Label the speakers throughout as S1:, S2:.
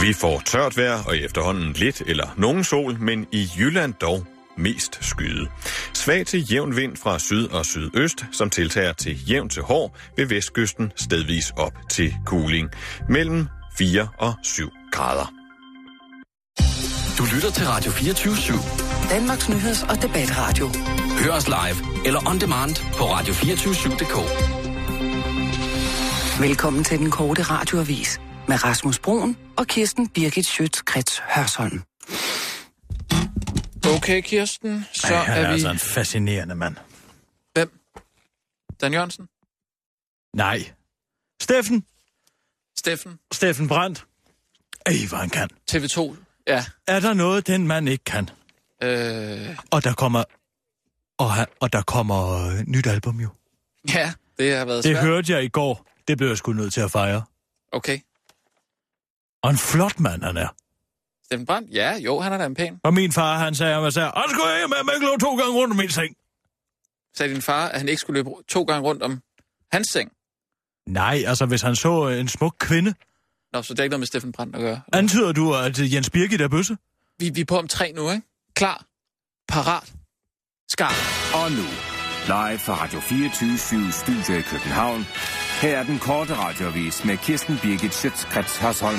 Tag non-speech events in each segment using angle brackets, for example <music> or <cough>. S1: Vi får tørt vejr og i efterhånden lidt eller nogen sol, men i Jylland dog mest skyde. Svag til jævn vind fra syd og sydøst, som tiltager til jævn til hård ved vestkysten stedvis op til kuling. Mellem 4 og 7 grader.
S2: Du lytter til Radio 24 /7.
S3: Danmarks Nyheds- og Debatradio.
S2: Hør os live eller on demand på radio247.dk.
S3: Velkommen til den korte radioavis med Rasmus Broen og Kirsten Birgit Schøtz-Krets Hørsholm.
S4: Okay, Kirsten, så
S5: Så Ej, han er,
S4: er vi...
S5: altså en fascinerende mand.
S4: Hvem? Dan Jørgensen?
S5: Nej. Steffen.
S4: Steffen?
S5: Steffen Brandt. Ej, hvor han kan.
S4: TV2? Ja.
S5: Er der noget, den mand ikke kan?
S4: Øh,
S5: Og der kommer... Og, ha- og der kommer øh, nyt album jo.
S4: ja, det har været
S5: Det
S4: svært.
S5: hørte jeg i går. Det blev jeg sgu nødt til at fejre.
S4: Okay.
S5: Og en flot mand, han er.
S4: Steffen Brandt? Ja, jo, han er da en pæn.
S5: Og min far, han sagde, han sagde, han skulle ikke med, man ikke lå to gange rundt om min seng.
S4: Sagde din far, at han ikke skulle løbe to gange rundt om hans seng.
S5: Nej, altså hvis han så øh, en smuk kvinde,
S4: Nå, så det er ikke noget med Steffen Brandt at gøre.
S5: antyder du, at øh, Jens Birgit er bøsse?
S4: Vi, vi er på om tre nu, ikke? Klar. Parat. Skarp.
S6: Og nu, live fra Radio 24 Studio i København. Her er den korte radiovis med Kirsten Birgit Schøtzgrads Hasholm.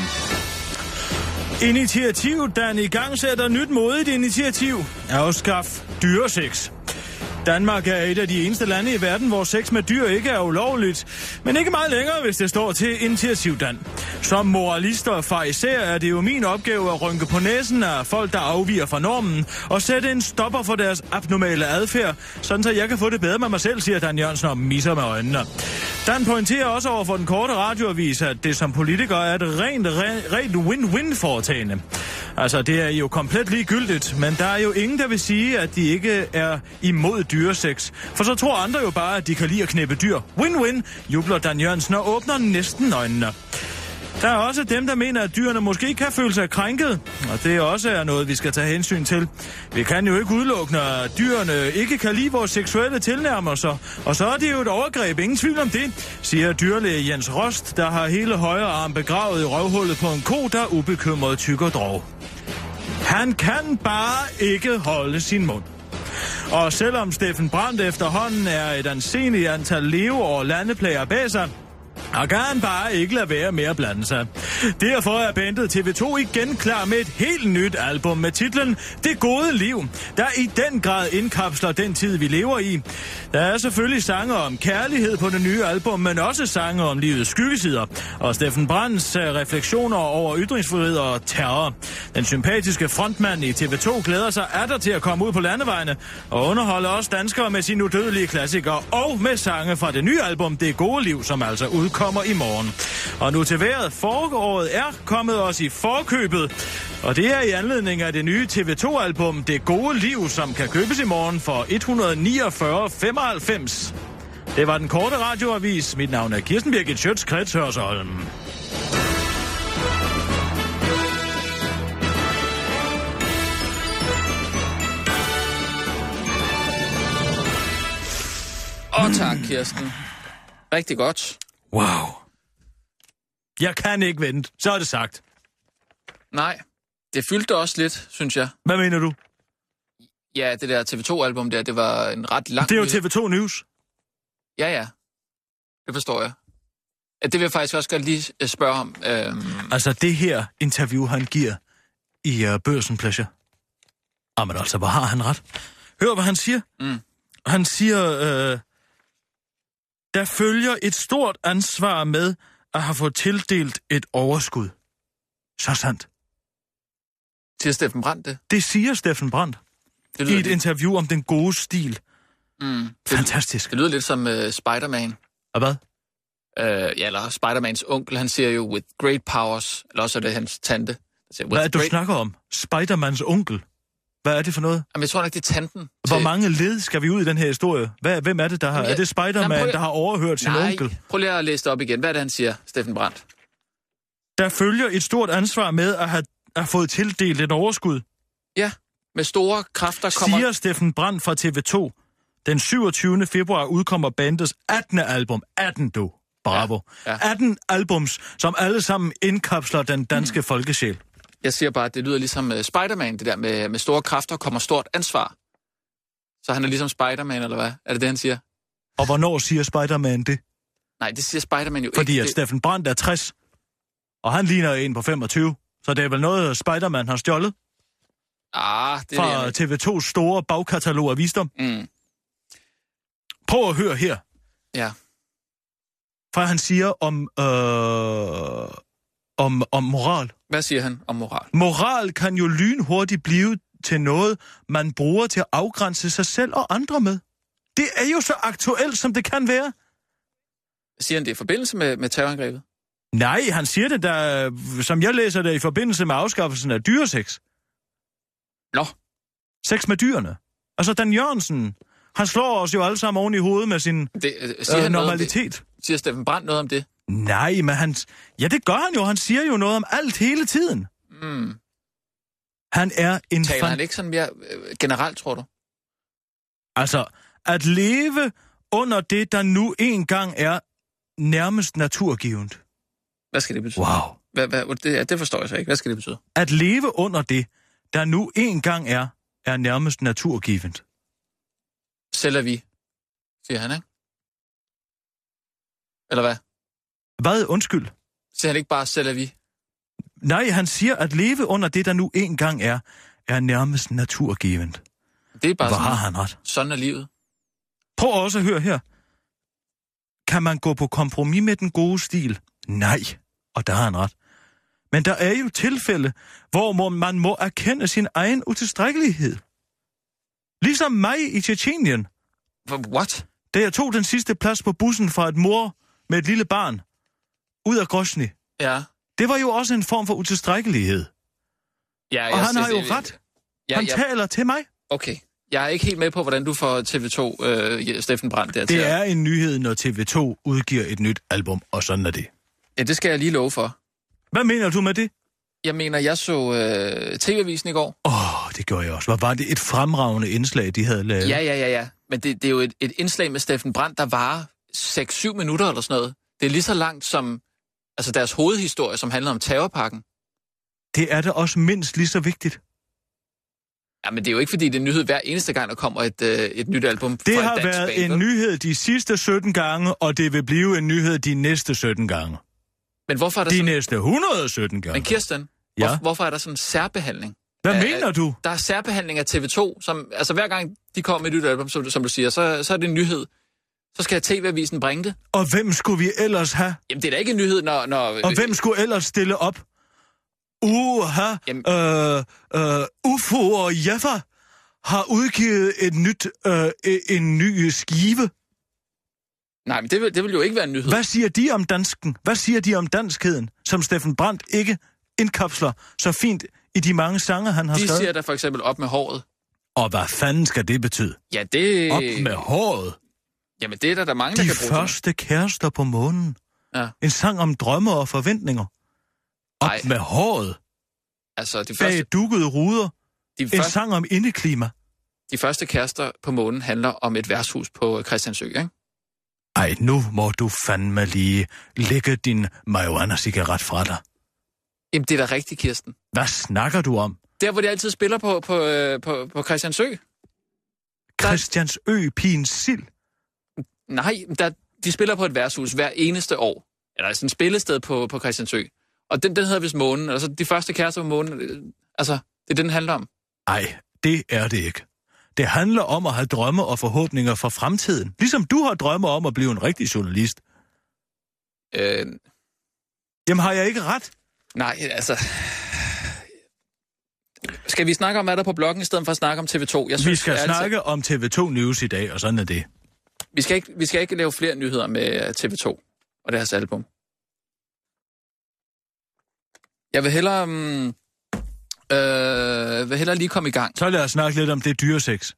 S5: Initiativ, Dan i gang sætter nyt modigt initiativ. Afskaf dyresex. Danmark er et af de eneste lande i verden, hvor sex med dyr ikke er ulovligt. Men ikke meget længere, hvis det står til initiativ, Dan. Som moralister og fariserer er det jo min opgave at rynke på næsen af folk, der afviger fra normen, og sætte en stopper for deres abnormale adfærd, sådan så jeg kan få det bedre med mig selv, siger Dan Jørgensen og misser med øjnene. Dan pointerer også over for den korte radioavis, at det som politiker er et rent, re- rent win-win-foretagende. Altså, det er jo komplet ligegyldigt, men der er jo ingen, der vil sige, at de ikke er imod dyresex. For så tror andre jo bare, at de kan lide at knippe dyr. Win-win, jubler Dan Jørgensen og åbner næsten øjnene. Der er også dem, der mener, at dyrene måske kan føle sig krænket, og det også er noget, vi skal tage hensyn til. Vi kan jo ikke udelukke, når dyrene ikke kan lide vores seksuelle tilnærmelser, og så er det jo et overgreb, ingen tvivl om det, siger dyrlæge Jens Rost, der har hele højre arm begravet i røvhullet på en ko, der ubekymret tykker drog. Han kan bare ikke holde sin mund. Og selvom Steffen Brandt efterhånden er et ansenligt antal leveår landeplager bag sig, og kan han bare ikke lade være med at blande sig. Derfor er bandet TV2 igen klar med et helt nyt album med titlen Det gode liv, der i den grad indkapsler den tid, vi lever i. Der er selvfølgelig sange om kærlighed på det nye album, men også sange om livets skyggesider. Og Steffen Brands øh, refleksioner over ytringsfrihed og terror. Den sympatiske frontmand i TV2 glæder sig atter til at komme ud på landevejene og underholde os danskere med sine udødelige klassikere og med sange fra det nye album Det Gode Liv, som altså udkommer i morgen. Og nu til vejret. Foråret er kommet os i forkøbet, og det er i anledning af det nye TV2-album Det Gode Liv, som kan købes i morgen for 149,95. Det var den korte radioavis. Mit navn er Kirsten Birgit Schøtz, Krets Hørsholm.
S4: Og tak, Kirsten. Rigtig godt.
S5: Wow. Jeg kan ikke vente. Så er det sagt.
S4: Nej, det fyldte også lidt, synes jeg.
S5: Hvad mener du?
S4: Ja, det der TV2-album der, det var en ret lang...
S5: Det er jo
S4: nyhed.
S5: TV2 News.
S4: Ja, ja. Det forstår jeg. Ja, det vil jeg faktisk også godt lige øh, spørge om. Øhm,
S5: Altså det her interview, han giver i uh, Børsen Pleasure. Jamen altså, hvor har han ret? Hør, hvad han siger.
S4: Mm.
S5: Han siger, øh, der følger et stort ansvar med at have fået tildelt et overskud. Så sandt.
S4: til Steffen Brandt det?
S5: Det siger Steffen Brandt
S4: Det
S5: i
S4: lyder,
S5: et
S4: lidt,
S5: interview om den gode stil.
S4: mm, det,
S5: Fantastisk.
S4: det lyder lidt som uh, Spider-Man.
S5: Og hvad?
S4: Øh, ja, eller Spider-Mans onkel, han siger jo, with great powers, eller også er det hans tante. der Siger,
S5: Hvad er
S4: with
S5: det, du
S4: great...
S5: snakker om? Spidermans onkel. Hvad er det for noget?
S4: Jamen, jeg tror nok, det er tanten.
S5: Hvor
S4: til-
S5: mange led skal vi ud i den her historie? Hvad, hvem er det, der har...
S4: Jamen, jeg-
S5: Er det
S4: Jamen, prøv
S5: Spider-Man,
S4: at-
S5: der har overhørt sin
S4: Nej,
S5: onkel?
S4: prøv lige at læse det op igen. Hvad er det, han siger, Steffen Brandt?
S5: Der følger et stort ansvar med at have, at have fået tildelt et overskud,
S4: Ja, med store kræfter kommer...
S5: Kommer... siger Steffen Brandt fra TV2. Den 27. februar udkommer bandets 18. album. 18, du. Bravo.
S4: Ja, ja.
S5: 18 albums, som alle sammen indkapsler den danske folkesjæl.
S4: Jeg siger bare, at det lyder ligesom øh, Spider-Man, det der med, med store kræfter kommer stort ansvar. Så han er ligesom Spider-Man, eller hvad? Er det det, han siger?
S5: Og hvornår siger Spider-Man det?
S4: Nej, det siger Spider-Man jo
S5: Fordi
S4: ikke.
S5: at
S4: det...
S5: Steffen Brandt er 60, og han ligner en på 25. Så det er vel noget, Spider-Man har stjålet
S4: Ah, det er det, jeg
S5: fra TV2's store bagkatalog af visdom.
S4: mener. mm,
S5: Prøv at høre her,
S4: ja.
S5: for han siger om, øh, om, om moral.
S4: Hvad siger han om moral?
S5: Moral kan jo lynhurtigt blive til noget, man bruger til at afgrænse sig selv og andre med. Det er jo så aktuelt, som det kan være.
S4: Siger han det i forbindelse med, med terrorangrebet?
S5: Nej, han siger det, der, som jeg læser det, i forbindelse med afskaffelsen af dyresex.
S4: Nå,
S5: Sex med dyrene. Altså, Dan Jørgensen, han slår os jo alle sammen oven i hovedet med sin
S4: det, øh, siger, øh,
S5: øh,
S4: han noget om det?
S5: normalitet.
S4: siger Steffen Brandt noget om det?
S5: Nej, men han... Ja, det gør han jo. Han siger jo noget om alt hele tiden.
S4: Mm.
S5: Han er en
S4: Taler
S5: fan-
S4: han ikke sådan mere øh, generelt, tror du?
S5: Altså, at leve under det, der nu engang er nærmest naturgivet.
S4: Hvad skal det betyde?
S5: Wow.
S4: Hvad, hvad, det, ja, det forstår jeg så ikke. Hvad skal det betyde?
S5: At leve under det, der nu engang er, er nærmest naturgivet.
S4: Sælger vi, siger han, ikke? Eller hvad?
S5: Hvad? Undskyld.
S4: Siger han ikke bare, sælger vi?
S5: Nej, han siger, at leve under det, der nu engang er, er nærmest naturgivet.
S4: Det er bare
S5: Hvor har
S4: sådan,
S5: han ret?
S4: sådan er livet.
S5: Prøv også at høre her. Kan man gå på kompromis med den gode stil? Nej, og der har han ret. Men der er jo tilfælde, hvor må- man må erkende sin egen utilstrækkelighed. Ligesom mig i Tjetjenien,
S4: Hva- What?
S5: da jeg tog den sidste plads på bussen fra et mor med et lille barn ud af Grosny.
S4: Ja.
S5: Det var jo også en form for utilstrækkelighed.
S4: ja
S5: Og
S4: jeg-
S5: han har jo
S4: jeg-
S5: ret.
S4: Ja,
S5: Han
S4: ja,
S5: taler til mig.
S4: okay. Jeg er ikke helt med på, hvordan du får TV2 øh, Steffen Brandt der til.
S5: Det
S4: at-
S5: er en nyhed, når TV2 udgiver et nyt album, og sådan er det.
S4: Ja, det skal jeg lige love for.
S5: Hvad mener du med det?
S4: Jeg mener, jeg så øh, TV-avisen i går.
S5: Åh, oh, det gjorde jeg også. Hvor var det et fremragende indslag, de havde lavet?
S4: Ja, ja, ja, ja. Men det, det er jo et, et indslag med Steffen Brandt, der varer 6-7 minutter eller sådan noget. Det er lige så langt som altså deres hovedhistorie, som handler om terrorpakken.
S5: Det er da også mindst lige så vigtigt.
S4: Ja, men det er jo ikke, fordi det er en nyhed hver eneste gang, der kommer et, øh, et nyt album
S5: Det
S4: fra
S5: har
S4: et dansk
S5: været
S4: band,
S5: en
S4: vel?
S5: nyhed de sidste 17 gange, og det vil blive en nyhed de næste 17 gange.
S4: Men hvorfor er der
S5: De
S4: sådan...
S5: næste 117 gange.
S4: Altså- Men Kirsten,
S5: Ja?
S4: hvor, hvorfor er der sådan en særbehandling?
S5: Hvad
S4: Ja,
S5: mener du?
S4: Der er særbehandling af TV2, som... Altså, hver gang de kommer med et nyt album, som, du- som du siger, så, så er det en nyhed. Så skal TV-avisen bringe det.
S5: Og hvem skulle vi ellers have?
S4: Jamen, det er da ikke en nyhed, når... når
S5: Og hvem skulle ellers stille op? Uha,
S4: Jamen-
S5: øh, øh, UFO og Jaffa har udgivet et nyt, øh, e- en ny skive.
S4: Nej, men det vil, det vil jo ikke være en nyhed.
S5: Hvad siger de om dansken? Hvad siger de om danskheden, som Steffen Brandt ikke indkapsler så fint i de mange sange, han har
S4: De
S5: skrevet?
S4: siger der for eksempel op med håret.
S5: Og hvad fanden skal det betyde?
S4: Ja, det...
S5: Op med håret.
S4: Øh, Jamen, det er der, der er mange, der
S5: De
S4: kan bruge til
S5: første kærester på månen.
S4: Ja.
S5: En sang om drømme og forventninger. Op
S4: Ej.
S5: med håret.
S4: noget. Altså, de
S5: Bag
S4: første,
S5: dukkede ruder.
S4: de,
S5: En
S4: første,
S5: sang om indeklima.
S4: de første kærester på månen handler om et værtshus på øh, Christiansø, ikke?
S5: Ej, nu må du fandme lige lægge din marihuana-cigaret fra dig.
S4: Jamen, det er da rigtigt, Kirsten.
S5: Hvad snakker du om?
S4: Der, hvor de altid spiller på, på, øh, på, på Christiansø.
S5: Christians Ø, Pins Sild.
S4: Nej, der, de spiller på et værtshus hver eneste år. Eller sådan et spillested på, på Christiansø. Og den, den hedder vist Månen. Altså, de første kærester på Månen. øh, Altså, det er det, den handler om.
S5: Ej, det er det ikke. Det handler om at have drømme og forhåbninger for fremtiden. Ligesom du har drømme om at blive en rigtig journalist.
S4: Øh,
S5: Jamen har jeg ikke ret?
S4: nej, altså... Skal vi snakke om, hvad der er på bloggen, i stedet for at snakke om TV2? Jeg
S5: Vi
S4: ærligt
S5: skal
S4: talt-
S5: snakke om TV2 News i dag, og sådan er det.
S4: Vi skal, ikke, vi skal ikke lave flere nyheder med øh, TV2 og deres album. Jeg vil hellere, um, øh, vil hellere lige komme i gang.
S5: Så lad os snakke lidt om det dyresex.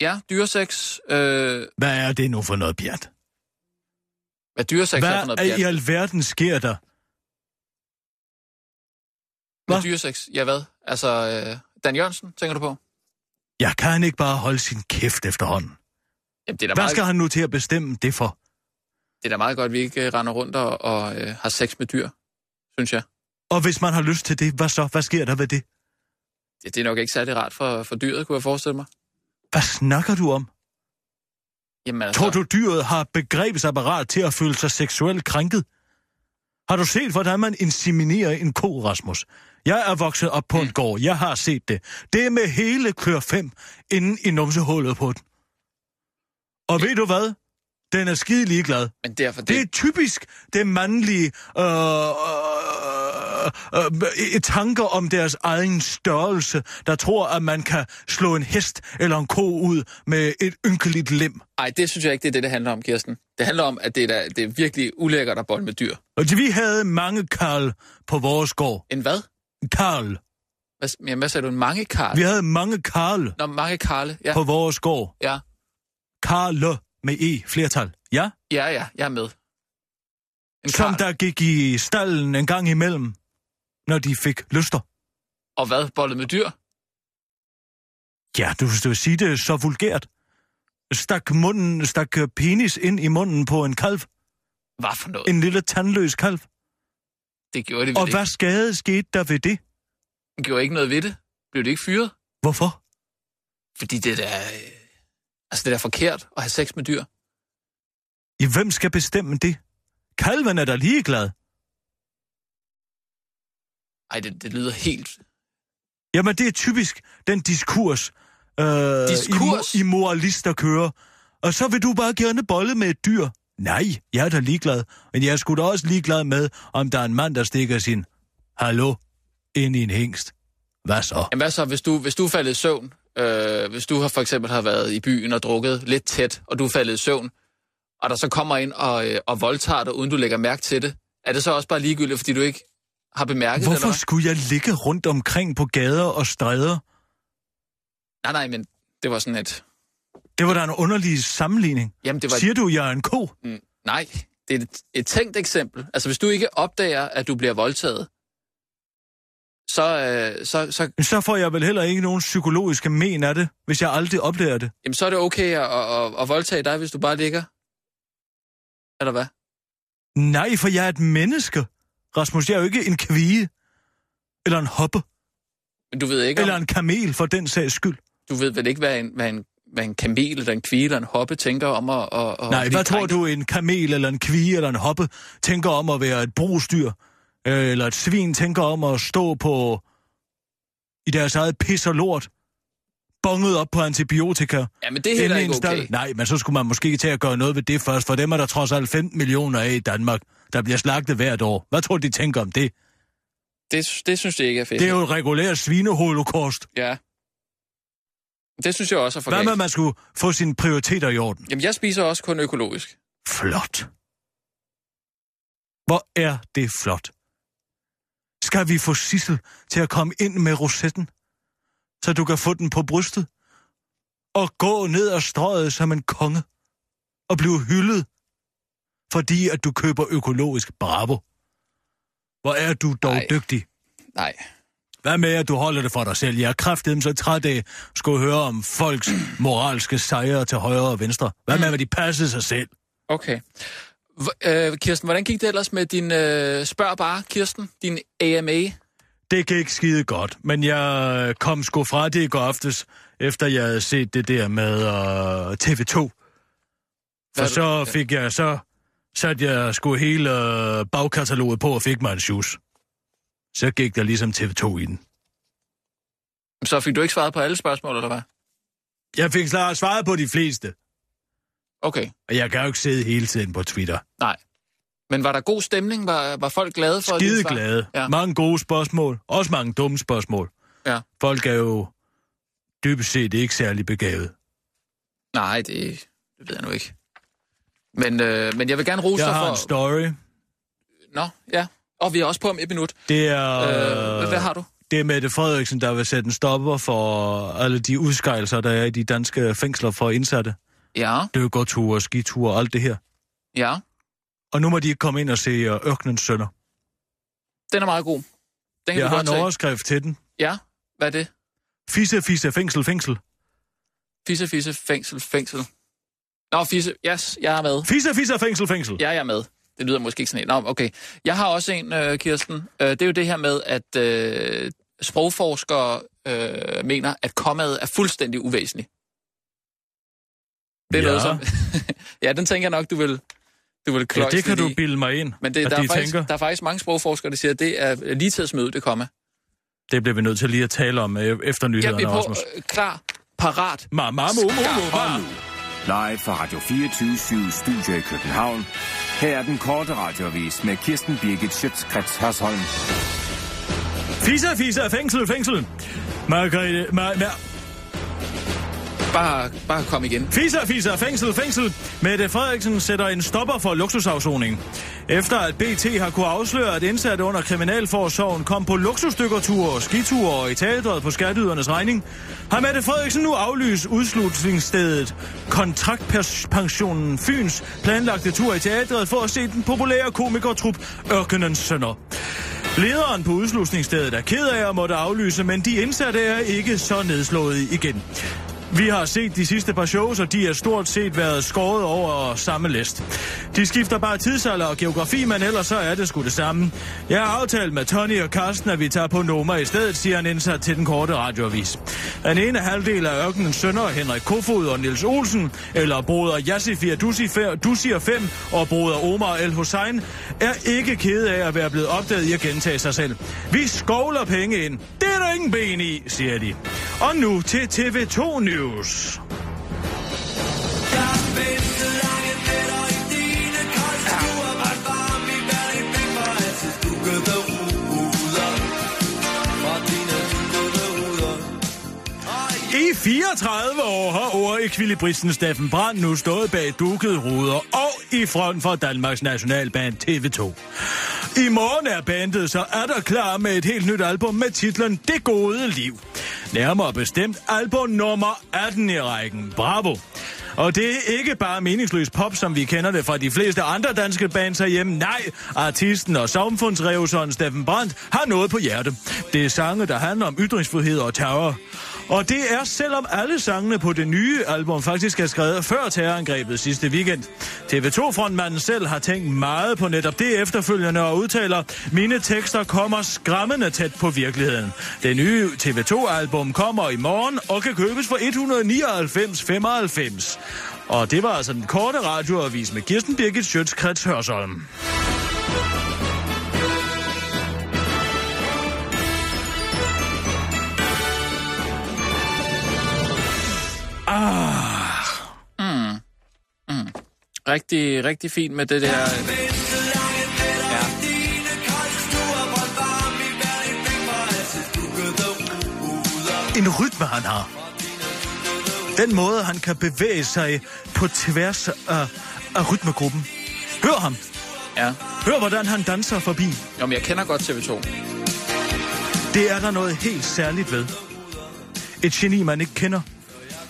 S4: Ja, dyresex. Øh,
S5: Hvad er det nu for noget pjat?
S4: hvad dyresex er for
S5: Hvad
S4: noget
S5: er i
S4: pjat?
S5: alverden sker der?
S4: Med
S5: Hva?
S4: dyresex, ja hvad? Altså, øh, Dan Jørgensen, tænker du på?
S5: Jeg kan han ikke bare holde sin kæft efterhånden.
S4: Jamen, det er da
S5: Hvad
S4: meget...
S5: skal han nu til at bestemme det for?
S4: det er da meget godt, at vi ikke øh, render rundt og, og øh, har sex med dyr, synes jeg.
S5: Og hvis man har lyst til det, hvad så? Hvad sker der ved det?
S4: Det, det er nok ikke særlig rart for, for dyret, kunne jeg forestille mig.
S5: Hvad snakker du om?
S4: Jamen, altså,
S5: Tror du, dyret har et begrebsapparat til at føle sig seksuelt krænket? Har du set, hvordan man inseminerer en ko, Rasmus? Jeg er vokset op på en gård. Jeg har set det. Det er med hele klør 5 inden i numsehullet på den. Og ved du hvad? Den er skide ligeglad.
S4: Men derfor det...
S5: Det er typisk det mandlige øh, øh, øh, øh, tanker om deres egen størrelse, der tror, at man kan slå en hest eller en ko ud med et ynkeligt lem.
S4: Ej, det synes jeg ikke, det er det, det handler om, Kirsten. Det handler om, at det er, da, det er virkelig ulækkert at bolle med dyr.
S5: Og vi havde mange karl på vores gård.
S4: En hvad?
S5: Karl.
S4: Hvad, s- jamen, hvad sagde du? En mange karl?
S5: Vi havde mange karl
S4: Nå, mange karle. Ja,
S5: på vores gård.
S4: ja,
S5: Karle med E, flertal. Ja,
S4: ja, ja, jeg er med. En
S5: som
S4: karl.
S5: der gik i stallen en gang imellem, når de fik lyster.
S4: Og hvad? Bollet med dyr?
S5: Ja, du skal sige det så vulgært. Stak munden, stak øh, penis ind i munden på en kalv.
S4: Hvad for noget?
S5: En lille tandløs kalv.
S4: Det gjorde det vel
S5: Og
S4: ikke.
S5: hvad skade skete der ved det?
S4: Det gjorde ikke noget ved det. Blev det ikke fyret?
S5: Hvorfor?
S4: Fordi det er da... øh, Altså, det er da forkert at have sex med dyr.
S5: I hvem skal bestemme det? Kalven er da ligeglad.
S4: Ej, det, det lyder helt...
S5: Jamen, det er typisk den diskurs, øh,
S4: Diskurs?
S5: I, mo- I moralister kører. Og så vil du bare gerne bolle med et dyr. Nej, jeg er da ligeglad. Men jeg er sgu da også ligeglad med, om der er en mand, der stikker sin hallo ind i en hængst. Hvad så?
S4: Jamen, hvad så, hvis du, hvis du er faldet i søvn? Øh, hvis du har for eksempel har været i byen og drukket lidt tæt, og du er faldet i søvn, og der så kommer ind og, øh, og voldtager dig, uden du lægger mærke til det, er det så også bare ligegyldigt, fordi du ikke har bemærket det?
S5: Hvorfor
S4: eller
S5: skulle jeg ligge rundt omkring på gader og stræder?
S4: hvad? Nej, nej, men det var sådan et...
S5: Det var da en underlig sammenligning.
S4: Jamen, det var...
S5: Siger du, jeg er en ko?
S4: Mm, Nej, det er et, et tænkt eksempel. Altså, hvis du ikke opdager, at du bliver voldtaget, så, øh, så, så,
S5: Så får jeg vel heller ikke nogen psykologiske men af det, hvis jeg aldrig opdager det.
S4: jamen, så er det okay at, at, at, at voldtage dig, hvis du bare ligger. Eller hvad?
S5: Nej, for jeg er et menneske. Rasmus, jeg er jo ikke en kvige. Eller en hoppe.
S4: Men du ved ikke,
S5: Eller
S4: om,
S5: en kamel, for den sags skyld.
S4: du ved vel ikke, hvad en, hvad en, hvad en kamel eller en kvile eller en hoppe tænker om at... at, at
S5: Nej,
S4: blive
S5: hvad tror
S4: krænket.
S5: du, en kamel eller en kvige eller en hoppe tænker om at være et brugsdyr? Øh, Eller et svin tænker om at stå på... I deres eget pis og lort. Bonget op på antibiotika.
S4: Jamen, det er heller
S5: Inde i
S4: ikke
S5: en stald.
S4: okay.
S5: Nej, men så skulle man måske til at gøre noget ved det først, for dem er der trods alt 15 millioner af i Danmark, der bliver slagtet hvert år. Hvad tror du, de tænker om det?
S4: Det, det synes jeg ikke er fedt.
S5: Det er jo et regulært svineholocaust.
S4: Ja. Det synes jeg også er for
S5: Hvad med, at
S4: galt.
S5: man skulle få sine prioriteter i orden?
S4: Jamen, jeg spiser også kun økologisk.
S5: Flot. Hvor er det flot. Skal vi få Sissel til at komme ind med rosetten, så du kan få den på brystet, og gå ned og strøget som en konge, og blive hyldet, fordi at du køber økologisk bravo. Hvor er du dog
S4: Ej.
S5: Ej. dygtig.
S4: Nej.
S5: Hvad med, at du holder det for dig selv? Jeg er kraftedem så træt af at skulle høre om folks moralske sejre til højre og venstre. Hvad med, at de passede sig selv?
S4: Okay. H- øh, Kirsten, hvordan gik det ellers med din... Øh, spørg bare, Kirsten, din AMA?
S5: Det gik skide godt, men jeg kom sgu fra det i går aftes, efter jeg havde set det der med øh, TV2. For
S4: Hvad-
S5: så fik jeg så satte jeg sgu hele øh, bagkataloget på og fik mig en shoes. Så gik der ligesom TV2 i den.
S4: Så fik du ikke svaret på alle spørgsmål, eller hvad?
S5: Jeg fik sla- svaret på de fleste,
S4: Okay,
S5: og jeg kan jo ikke sidde hele tiden på Twitter.
S4: nej. Men var der god stemning? Var, var folk glade for dine
S5: Skide
S4: svar?
S5: glade.
S4: Ja.
S5: Ja. Mange gode spørgsmål, også mange dumme spørgsmål.
S4: Ja.
S5: Folk er jo dybest set ikke særlig begavet.
S4: Nej, det, det ved jeg nu ikke. Men, øh, men jeg vil gerne rose
S5: Jeg
S4: dig
S5: har
S4: for...
S5: en story.
S4: Nå, ja. Og vi er også på om et minut.
S5: Det er...
S4: Øh, hvad- hvad har du?
S5: Det er Mette Frederiksen, der vil sætte en stopper for alle de udskejelser, der er i de danske fængsler for indsatte.
S4: Ja,
S5: Dykkerture, skiture og alt det her.
S4: ja.
S5: Og nu må de ikke komme ind og se øh, Ørkenens Sønder.
S4: Den er meget god. Den kan
S5: Jeg
S4: du
S5: har
S4: godt
S5: en
S4: tage.
S5: overskrift til den.
S4: Ja, hvad er det?
S5: Fisse, fisse, fængsel, fængsel.
S4: Fisse, fisse, fængsel, fængsel. Nå, fisse. Yes, jeg er med.
S5: Fisser, fisser, fængsel, fængsel.
S4: Ja, jeg er med. Det lyder måske ikke sådan en. Nå, okay. Jeg har også en, øh, Kirsten. Øh, det er jo det her med, at øh, sprogforskere øh, mener, at kommaet er fuldstændig uvæsentligt. Det er
S5: Ja.
S4: ja. noget som... <laughs> ja, den tænker jeg nok, du vil, du vil
S5: ja,
S4: kløjes
S5: det kan
S4: lidt
S5: du
S4: i.
S5: bilde mig ind,
S4: Men det,
S5: at
S4: der, er
S5: de
S4: faktisk,
S5: tænker.
S4: der er faktisk mange sprogforskere, der siger, at det er lige til at smide det komma.
S5: Det bliver vi nødt til lige at tale om øh, efter
S4: Jeg
S5: nyhederne,
S4: bliver på,
S5: Rasmus.
S4: øh, klar, parat.
S5: Ma, ma, mo, mo, mo, ma.
S6: Live fra Radio 24 Studio i København. Her er den korte radiovis med Kirsten Birgit Schøtzgrads Hasholm.
S5: Fisser, fisser, fængsel, fængsel. Margrethe, ma, ma,
S4: Bare, bare kom igen.
S5: Fisser, fisser, fængsel, fængsel. Mette Frederiksen sætter en stopper for luksusafsoning. Efter at BT har kunne afsløre, at indsatte under Kriminalforsorgen kom på luksusdykkerture, skiture og i teateret på skatteydernes regning, har Mette Frederiksen nu aflyst udslutningsstedet Kontraktpensionen Fyns planlagte tur i teateret for at se den populære komikertrup Ørkenens Sønder. Lederen på udslusningsstedet er ked af at måtte aflyse, men de indsatte er ikke så nedslået igen. Vi har set de sidste par shows, og de har stort set været skåret over samme list. De skifter bare tidsalder og geografi, men ellers så er det sgu det samme. Jeg har aftalt med Tony og Carsten, at vi tager på Noma i stedet, siger en indsat til den korte radioavis. Den ene halvdel af Ørkenens Sønder, Henrik Kofod og Nils Olsen, eller broder Yassifir Dusier 5 og broder Omar El Hussein, er ikke kede af at være blevet opdaget i at gentage sig selv. Vi skovler penge ind. Det er der ingen ben i, siger de. Og nu til TV2 News. I 34 år har ord ekvilibristen Steffen Brandt nu stået bag dukket ruder og i front for Danmarks nationalband TV2. I morgen er bandet så er der klar med et helt nyt album med titlen Det gode liv. Nærmere bestemt album nummer 18 i rækken. Bravo! Og det er ikke bare meningsløs pop, som vi kender det fra de fleste andre danske bands herhjemme. Nej, artisten og samfundsrevseren Steffen Brandt har noget på hjerte. Det er sange, der handler om ytringsfrihed og terror. Og det er selvom alle sangene på det nye album faktisk er skrevet før terrorangrebet sidste weekend. TV2-frontmanden selv har tænkt meget på netop det efterfølgende og udtaler, mine tekster kommer skræmmende tæt på virkeligheden. Det nye TV2-album kommer i morgen og kan købes for 199,95. Og det var altså den korte radioavis med Kirsten Birgit Schøtzgrads Hørsholm.
S4: Rigtig, rigtig fint med det der...
S5: en rytme, han har. Den måde, han kan bevæge sig på tværs af, af rytmegruppen. Hør ham.
S4: Ja.
S5: Hør, hvordan han danser forbi.
S4: Jo, men jeg kender godt TV2.
S5: Det er der noget helt særligt ved. Et geni, man ikke kender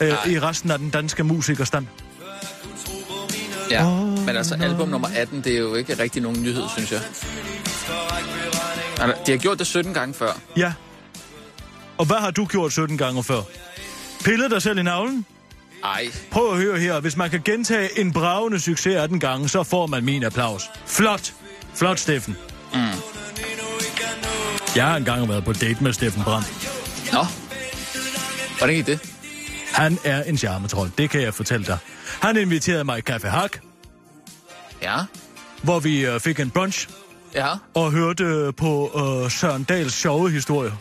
S5: øh, i resten af den danske musikerstand.
S4: Ja. Men altså, album nummer 18, det er jo ikke rigtig nogen nyhed, synes jeg. Altså, De har gjort det 17 gange før.
S5: Ja. Og hvad har du gjort 17 gange før? Pillet dig selv i navlen?
S4: Ej,
S5: Prøv at høre her. Hvis man kan gentage en bravende succes 18 gange, så får man min applaus. Flot. Flot, Steffen. Mm. Jeg har engang været på date med Steffen Brandt.
S4: nå. Hvordan gik det?
S5: Han er en charmetrol, det kan jeg fortælle dig. Han inviterede mig i Café Hak,
S4: Ja,
S5: hvor vi øh, fik en brunch
S4: ja,
S5: og hørte øh, på øh, Søren Dahls sjove historie.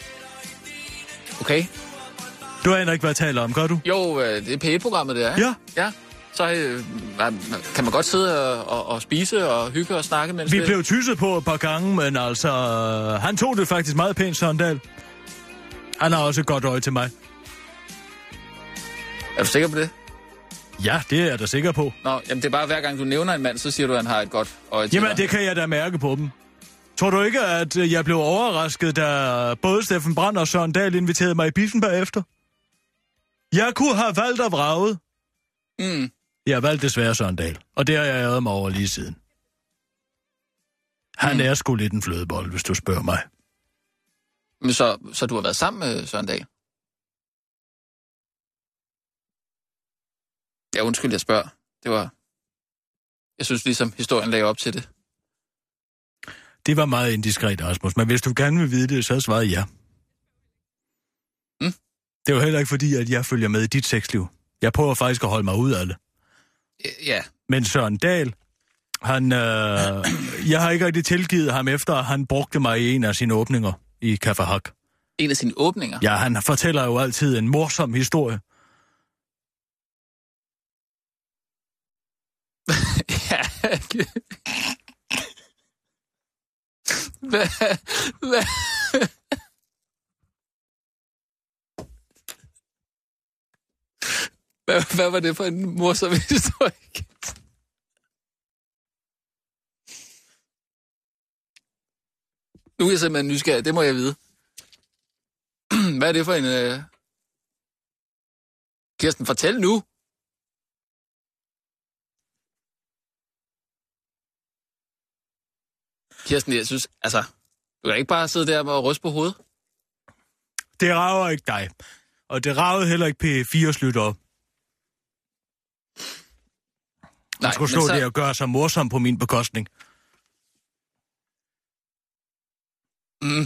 S4: okay.
S5: Du aner ikke, hvad jeg taler om, gør du?
S4: Jo, øh, det er P1-programmet, det er. ikke? Ja. Så øh, man- kan man godt sidde og, og, og spise og hygge og snakke, mens
S5: Vi blev tysset på et par gange, men altså, øh, han tog det faktisk meget pænt, Søren Dahl. Han har også et godt øje til mig.
S4: Er du sikker på det?
S5: Ja, det er jeg da sikker på.
S4: Nå, jamen det er bare, hver gang du nævner en mand, så siger du, at han har et godt øje til
S5: Jamen,
S4: dig.
S5: det kan jeg da mærke på dem. Tror du ikke, at øh, jeg blev overrasket, da både Steffen Brandt og Søren Dahl inviterede mig i biffen bagefter? Jeg kunne have valgt at vrage.
S4: Mm.
S5: Jeg har valgt desværre Søren Dahl, og det har jeg æret mig over lige siden. Han mm. er sgu lidt en flødebold, hvis du spørger mig.
S4: Men så, så du har været sammen med Søren Dahl? Ja, undskyld, jeg spørger. Det var... Jeg synes ligesom, historien lagde op til det.
S5: Det var meget indiskret, Rasmus, men hvis du gerne vil vide det, så svarede ja.
S4: Mm.
S5: Det var heller ikke fordi, at jeg følger med i dit sexliv. Jeg prøver faktisk at holde mig ud af det.
S4: Ja,
S5: Men Søren Dahl, han, øh, <clears throat> jeg har ikke rigtig tilgivet ham efter, at han brugte mig i en af sine åbninger i Café Hak.
S4: en af sine åbninger.
S5: Ja, han fortæller jo altid en morsom historie.
S4: Ja. Hvad? Hvad? Hvad, hvad var det for en morsom historik? Nu er jeg simpelthen nysgerrig, det må jeg vide. Hvad er det for en... Øh... Kirsten, fortæl nu! Kirsten, jeg synes, altså, du kan ikke bare sidde der og ryste på hovedet.
S5: Det rager ikke dig. Og det ragede heller ikke P4-slutter. Han skulle stå
S4: men
S5: så... der og gøre sig morsom på min bekostning.
S4: Mm.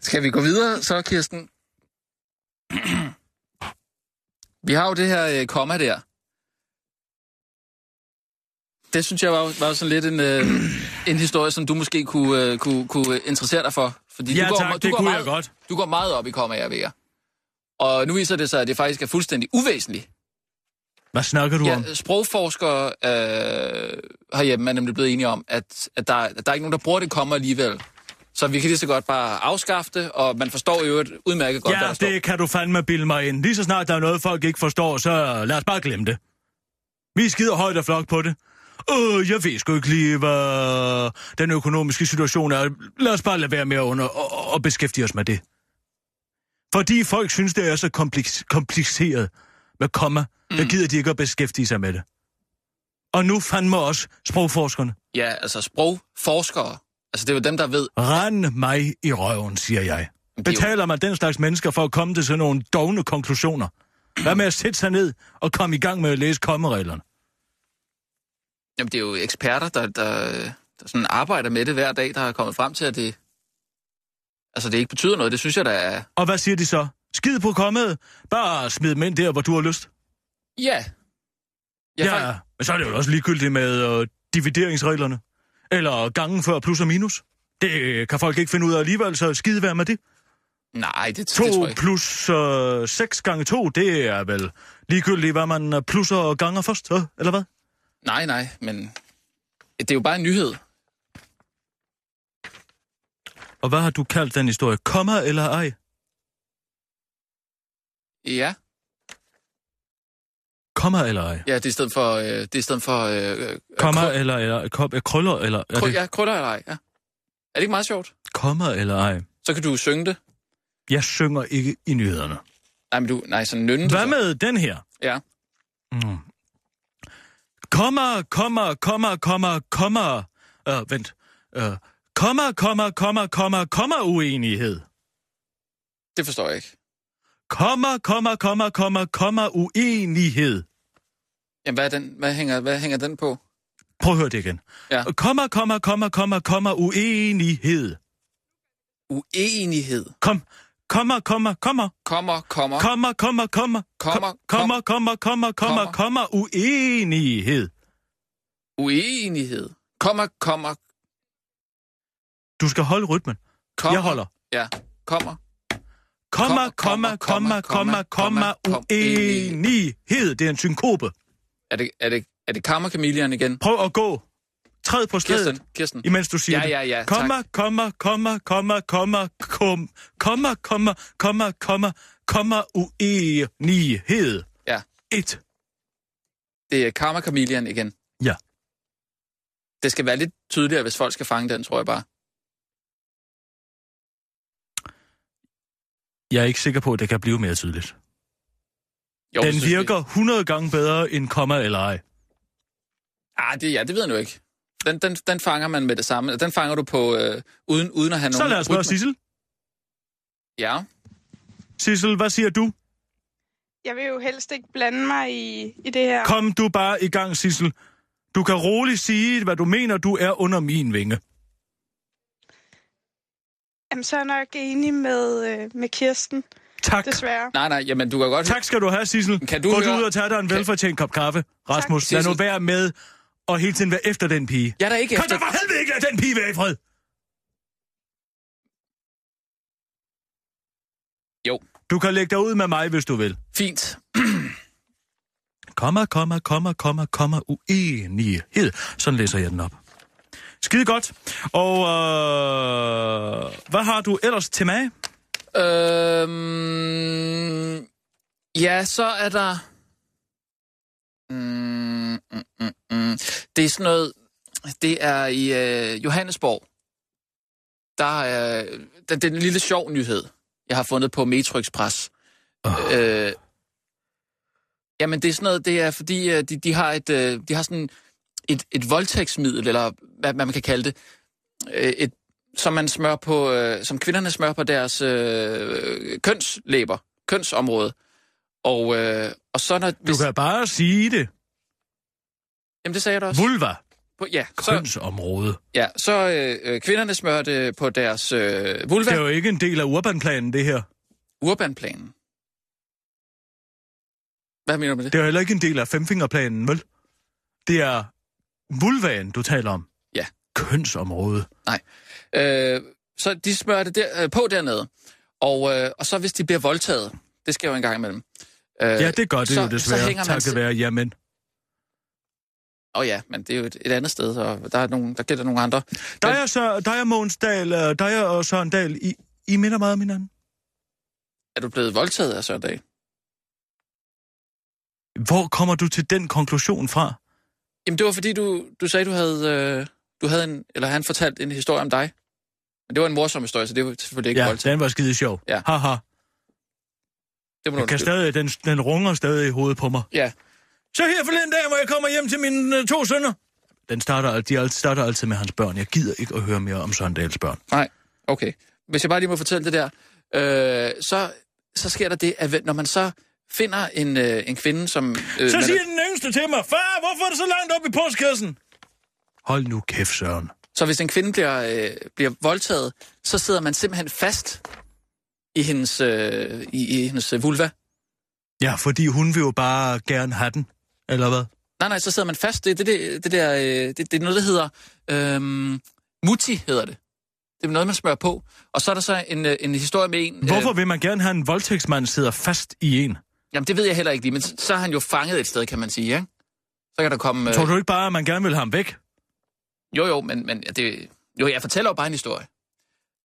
S4: Skal vi gå videre så, Kirsten? <clears throat> vi har jo det her øh, komma der. Det synes jeg var, var sådan lidt en, øh, <clears throat> en historie, som du måske kunne, øh, kunne, kunne interessere dig for. Fordi
S5: Ja
S4: du går,
S5: tak,
S4: du
S5: det
S4: går
S5: kunne
S4: meget,
S5: jeg godt.
S4: Du går meget op i kommaer, ved jeg. Og nu viser det sig, at det faktisk er fuldstændig uvæsentligt,
S5: Hvad snakker du ja, om?
S4: Ja, sprogforskere øh, herhjemme er nemlig blevet enige om, at, at der, at der er ikke nogen, der bruger det kommer alligevel. Så vi kan lige så godt bare afskaffe det, og man forstår jo et udmærket godt, hvad
S5: Ja,
S4: der står.
S5: det kan du fandme bilde mig ind. Lige så snart der er noget, folk ikke forstår, så lad os bare glemme det. Vi skider højt og flok på det. Øh, jeg ved sgu ikke lige, hvad den økonomiske situation er. Lad os bare lade være med at under og, og beskæftige os med det. Fordi folk synes, det er så kompliks- kompliceret med komma, mm. der gider de ikke at beskæftige sig med det. Og nu fandme også sprogforskerne.
S4: Ja, altså sprogforskere. Altså det er jo dem, der ved.
S5: Rand mig i røven, siger jeg.
S4: er jo-
S5: Betaler man den slags mennesker for at komme til sådan nogle dogne konklusioner? Hvad med at sætte sig ned og komme i gang med at læse kommereglerne?
S4: Jamen det er jo eksperter, der, der, der sådan arbejder med det hver dag, der er kommet frem til, at det... Altså det ikke betyder noget, det synes jeg, der er...
S5: Og hvad siger de så? Skid på kommet. Bare smid dem ind der, hvor du har lyst.
S4: Ja.
S5: Ja, men så er det jo også ligegyldigt med øh, divideringsreglerne. Eller gangen før plus og minus. Det kan folk ikke finde ud af alligevel, så skide være med det.
S4: Nej, det, det tror
S5: 2
S4: jeg ikke.
S5: plus øh, 6 gange 2, det er vel ligegyldigt, hvad man øh, plusser og ganger først, øh, eller hvad?
S4: Nej, nej, men... Det er jo bare en nyhed.
S5: Og hvad har du kaldt den historie? Komma eller ej?
S4: Ja.
S5: Komma eller ej?
S4: Ja, det er i stedet for... Øh, det er i stedet for øh, øh,
S5: Komma
S4: krø-
S5: eller, eller kom, øh, krøller eller... Er
S4: krø-
S5: det
S4: ja, krøller eller ej, ja. Er det ikke meget sjovt?
S5: komma eller ej?
S4: Så kan du synge det.
S5: Jeg synger ikke i nyhederne.
S4: Nej, men du... Nej, sådan nynne det
S5: Hvad
S4: så.
S5: med den her?
S4: Ja.
S5: Mm. Komma, komma, komma, komma, komma... Øh, vent. Øh, komma, komma, komma, komma, komma uenighed.
S4: Det forstår jeg ikke.
S5: Komma, komma, komma, komma, komma uenighed.
S4: Jamen, hvad, er den, hvad, hænger, hvad hænger den på?
S5: Prøv at høre det igen.
S4: Ja.
S5: Komma, komma, komma, komma, komma uenighed.
S4: Uenighed.
S5: Kom, komma, komma, komma.
S4: Kommer, kommer. Kom.
S5: Kommer, kommer, kommer.
S4: Kommer,
S5: kommer, kommer, kommer,
S4: kommer.
S5: kommer, kommer, uenighed.
S4: Uenighed. Kommer, kommer,
S5: Du skal holde rytmen.
S4: kommer.
S5: Jeg holder.
S4: Ja, kommer.
S5: Kommer,
S4: Kommer,
S5: kommer, kommer,
S4: kommer,
S5: kommer,
S4: kommer,
S5: kommer,
S4: kom-
S5: uenighed. Det er en synkope.
S4: Er det, er det, er det kammerkamelian igen?
S5: Prøv at gå. Træd på
S4: Kirsten,
S5: stedet,
S4: Kirsten.
S5: imens du siger
S4: Ja,
S5: det.
S4: ja, ja, tak.
S5: Kommer, kommer, kommer, kommer, kommer, kom, kommer, kommer, kommer, kommer, kommer, uenighed.
S4: Ja,
S5: Et.
S4: det er kammerkamelian igen.
S5: Ja.
S4: Det skal være lidt tydeligere, hvis folk skal fange den, tror jeg bare.
S5: Jeg er ikke sikker på, at det kan blive mere tydeligt.
S4: Jo,
S5: Den
S4: det synes vi.
S5: virker 100 gange bedre end komma eller ej.
S4: Ah, det, ja, det ved jeg nu ikke. Den, den, den fanger man med det samme. Den fanger du på, øh, uden, uden at have
S5: Så
S4: nogen...
S5: lad os spørge
S4: rytme.
S5: Sissel.
S4: Ja.
S5: Sissel, hvad siger du?
S7: jeg vil jo helst ikke blande mig i, i det her.
S5: Kom du bare i gang, Sissel. Du kan roligt sige, hvad du mener, du er under min vinge.
S7: Jamen, så er jeg nok enig med, øh, med Kirsten,
S5: Tak.
S7: desværre.
S4: Nej, nej, jamen du kan godt...
S5: Tak skal du have, Sissel.
S4: Kan du
S5: Gå du
S4: høre-
S5: ud og tage dig en
S4: Kan-
S5: velfortjent kop kaffe, Rasmus. Tak, Lad nu
S4: Sissel.
S5: være med og hele tiden være efter den pige.
S4: Jeg er da ikke
S5: Kan
S4: efter...
S5: du for helvede ikke lade den pige være i fred?
S4: Jo.
S5: Du kan lægge dig ud med mig, hvis du vil.
S4: Fint.
S5: Komma, komma, komma, komma, komma, uenighed. Sådan læser jeg den op. Skide godt. Og øh, hvad har du ellers til mig?
S4: Øhm, ja, så er der... Mm, mm, mm, mm. Det er sådan noget... Det er i øh, Johannesborg. Der er, der, det er en lille sjov nyhed, jeg har fundet på Metro Express.
S5: Ah.
S4: Oh. Øh, jamen, det er sådan noget, det er fordi, øh, de, de, har et, øh, de har sådan et, et voldtægtsmiddel, eller hvad, hvad man kan kalde det, øh, et som man smører på, øh, som kvinderne smører på deres øh, kønslæber, kønsområde. Og, øh, og så når...
S5: Du
S4: Hvis,
S5: kan bare sige det.
S4: Jamen, det sagde jeg da også.
S5: Vulva,
S4: På, ja, så,
S5: kønsområde.
S4: ja, så øh, øh, kvinderne smører det på deres øh, vulva,
S5: Det er jo ikke en del af urbanplanen, det her.
S4: urbanplanen. Hvad mener du med det?
S5: Det er jo heller ikke en del af femfingerplanen, vel? Det er vulvaen, du taler om.
S4: Ja.
S5: Kønsområde.
S4: Øh, så de smører det der, øh, på dernede. Og, øh, og så hvis de bliver voldtaget, det sker jo en gang imellem. Øh,
S5: Ja, det gør det
S4: så-
S5: jo
S4: så
S5: desværre,
S4: hænger man
S5: takket
S4: se-
S5: være, jamen.
S4: Åh oh, ja, men det er jo et, et andet sted, og der, er nogle, der gælder nogle andre.
S5: Der
S4: Men-
S5: er, så, der er Måns Dahl, øh, der er og Søren Dahl, I, I minder meget om hinanden.
S4: Er du blevet voldtaget af søndag?
S5: Hvor kommer du til den konklusion fra?
S4: Jamen, det var fordi, du, du sagde, du havde, øh, du havde en, eller han fortalte en historie om dig. Men det var en morsom historie, så det var selvfølgelig ikke
S5: ja,
S4: ja, voldtægt.
S5: den var skide sjov.
S4: Ja.
S5: Haha.
S4: Det må du
S5: Den, kan
S4: undskylde.
S5: stadig, den, den runger stadig i hovedet på mig.
S4: Ja.
S5: Så her forleden dag, hvor jeg kommer hjem til mine øh, to sønner. Den starter, al- de al- starter altid med hans børn. Jeg gider ikke at høre mere om Søren Dahls børn.
S4: Nej, okay. Hvis jeg bare lige må fortælle det der, øh, så, så sker der det, at når man så finder en, øh, en kvinde, som... Øh,
S5: Så
S4: man-
S5: siger den yngste til mig, far, hvorfor er det så langt op i postkassen? Hold nu kæft, Søren.
S4: Så hvis en kvinde bliver, øh, bliver voldtaget, så sidder man simpelthen fast i hendes, øh, i, i hendes øh, vulva.
S5: Ja, fordi hun vil jo bare gerne have den, eller hvad?
S4: Nej, nej, så sidder man fast. Det, det, det, det, der, øh, det, det er noget, der hedder... Øhm, mutti hedder det. Det er noget, man smører på. Og så er der så en, øh, en historie med en...
S5: Hvorfor
S4: Øh,
S5: vil man gerne have en voldtægtsmand sidder fast i en?
S4: jamen, det ved jeg heller ikke lige, men så, så er han jo fanget et sted, kan man sige, ikke? Så kan der komme... Øh,
S5: Tror du ikke bare, at man gerne vil have ham væk?
S4: Jo, jo, men, men ja, det, jo, jeg fortæller jo bare en historie.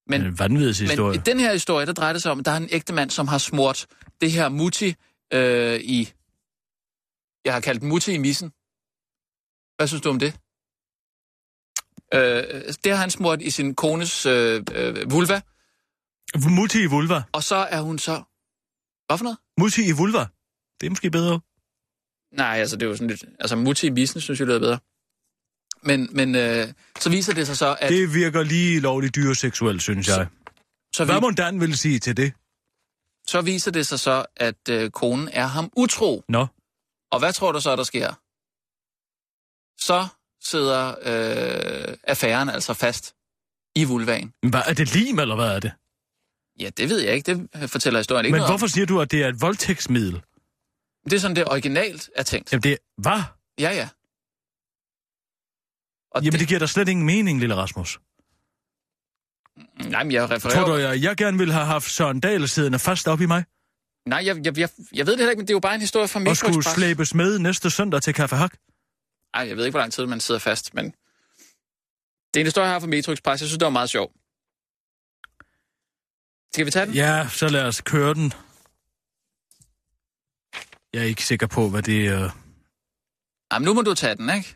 S4: Men,
S5: En vanvittig
S4: men
S5: historie.
S4: i den her historie, der drejer det sig om, at der er en ægte mand, som har smurt det her mutti øh, i... Jeg har kaldt den mutti i missen. Hvad synes du om det? Øh, det har han smurt i sin kones øh, øh, vulva,
S5: Mutti i vulva.
S4: og så er hun så... Hvad for noget?
S5: Mutti i vulva. Det er måske bedre.
S4: Nej, altså det er jo sådan lidt... Altså mutti i missen, synes jeg, det er bedre. Men, men øh, så viser det sig så, at...
S5: Det virker lige lovligt dyreseksuelt, synes jeg.
S4: så
S5: Hvad må Dan vil sige til det?
S4: Så viser det sig så, at øh, konen er ham utro.
S5: Nå.
S4: Og hvad tror du så, der sker? Så sidder øh, affæren altså fast i vulvaen.
S5: Hvad, er det lim, eller hvad er det?
S4: Ja, det ved jeg ikke. Det fortæller historien ikke
S5: Men
S4: noget
S5: hvorfor siger du, at det er et voldtægtsmiddel?
S4: om. Det er sådan, det originalt er tænkt.
S5: Jamen, det er... Hvad?
S4: Ja, ja. Og
S5: Jamen,
S4: det...
S5: det giver da slet ingen mening, lille Rasmus.
S4: det... Nej, men jeg refererer...
S5: Tror du, jeg, jeg gerne ville have haft Søren Dahl siddende fast op i mig?
S4: Nej, jeg, jeg, jeg, jeg ved det heller ikke, men det er jo bare en historie fra
S5: Og skulle
S4: Mikroexpress.
S5: slæbes med næste søndag til Kaffe Hak?
S4: Ej, jeg ved ikke, hvor lang tid man sidder fast, men... Det er en historie, jeg har fra Metro Express. Jeg synes, det var meget sjovt. Skal vi tage den?
S5: Ja, så lad os køre den. Jeg er ikke sikker på, hvad det er. Øh...
S4: Jamen, nu må du tage den, ikke?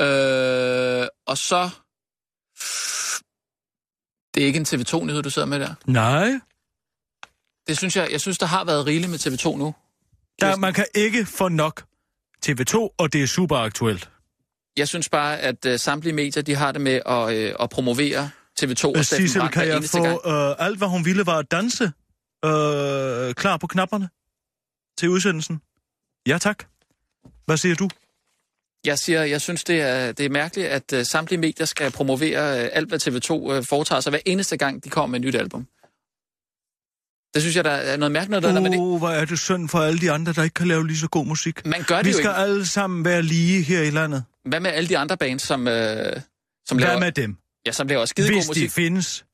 S4: Øh, og så... Det er ikke en TV2-nyhed, du sidder med der.
S5: Nej.
S4: Det synes jeg, jeg synes, der har været rigeligt med TV2 nu.
S5: Der, man kan ikke få nok TV2, og det er super aktuelt.
S4: Jeg synes bare, at uh, samtlige medier, de har det med at, uh, at promovere TV2 og Steffen
S5: Sissel,
S4: Brandt
S5: kan
S4: hver
S5: jeg
S4: eneste
S5: få
S4: gang.
S5: øh, alt, hvad hun ville, var at danse øh, klar på knapperne? til udsendelsen? Ja tak. Hvad siger du?
S4: Jeg siger, jeg synes, det er, det er mærkeligt, at uh, samtlige medier skal promovere uh, alt, hvad TV2 uh, foretager sig hver eneste gang, de kommer med et nyt album. Det synes jeg, der er noget mærkeligt, der, uh. man, ikke,
S5: Åh, oh, hvor er det synd for alle de andre, der ikke kan lave lige så god musik.
S4: man gør
S5: Vi
S4: Mm. det jo
S5: skal
S4: ikke.
S5: alle sammen være lige her i landet.
S4: Hvad med alle de andre bands, som, uh, som,
S5: Hvad
S4: laver,
S5: med dem?
S4: ja, som laver skidegod
S5: Hvis de
S4: musik?
S5: findes.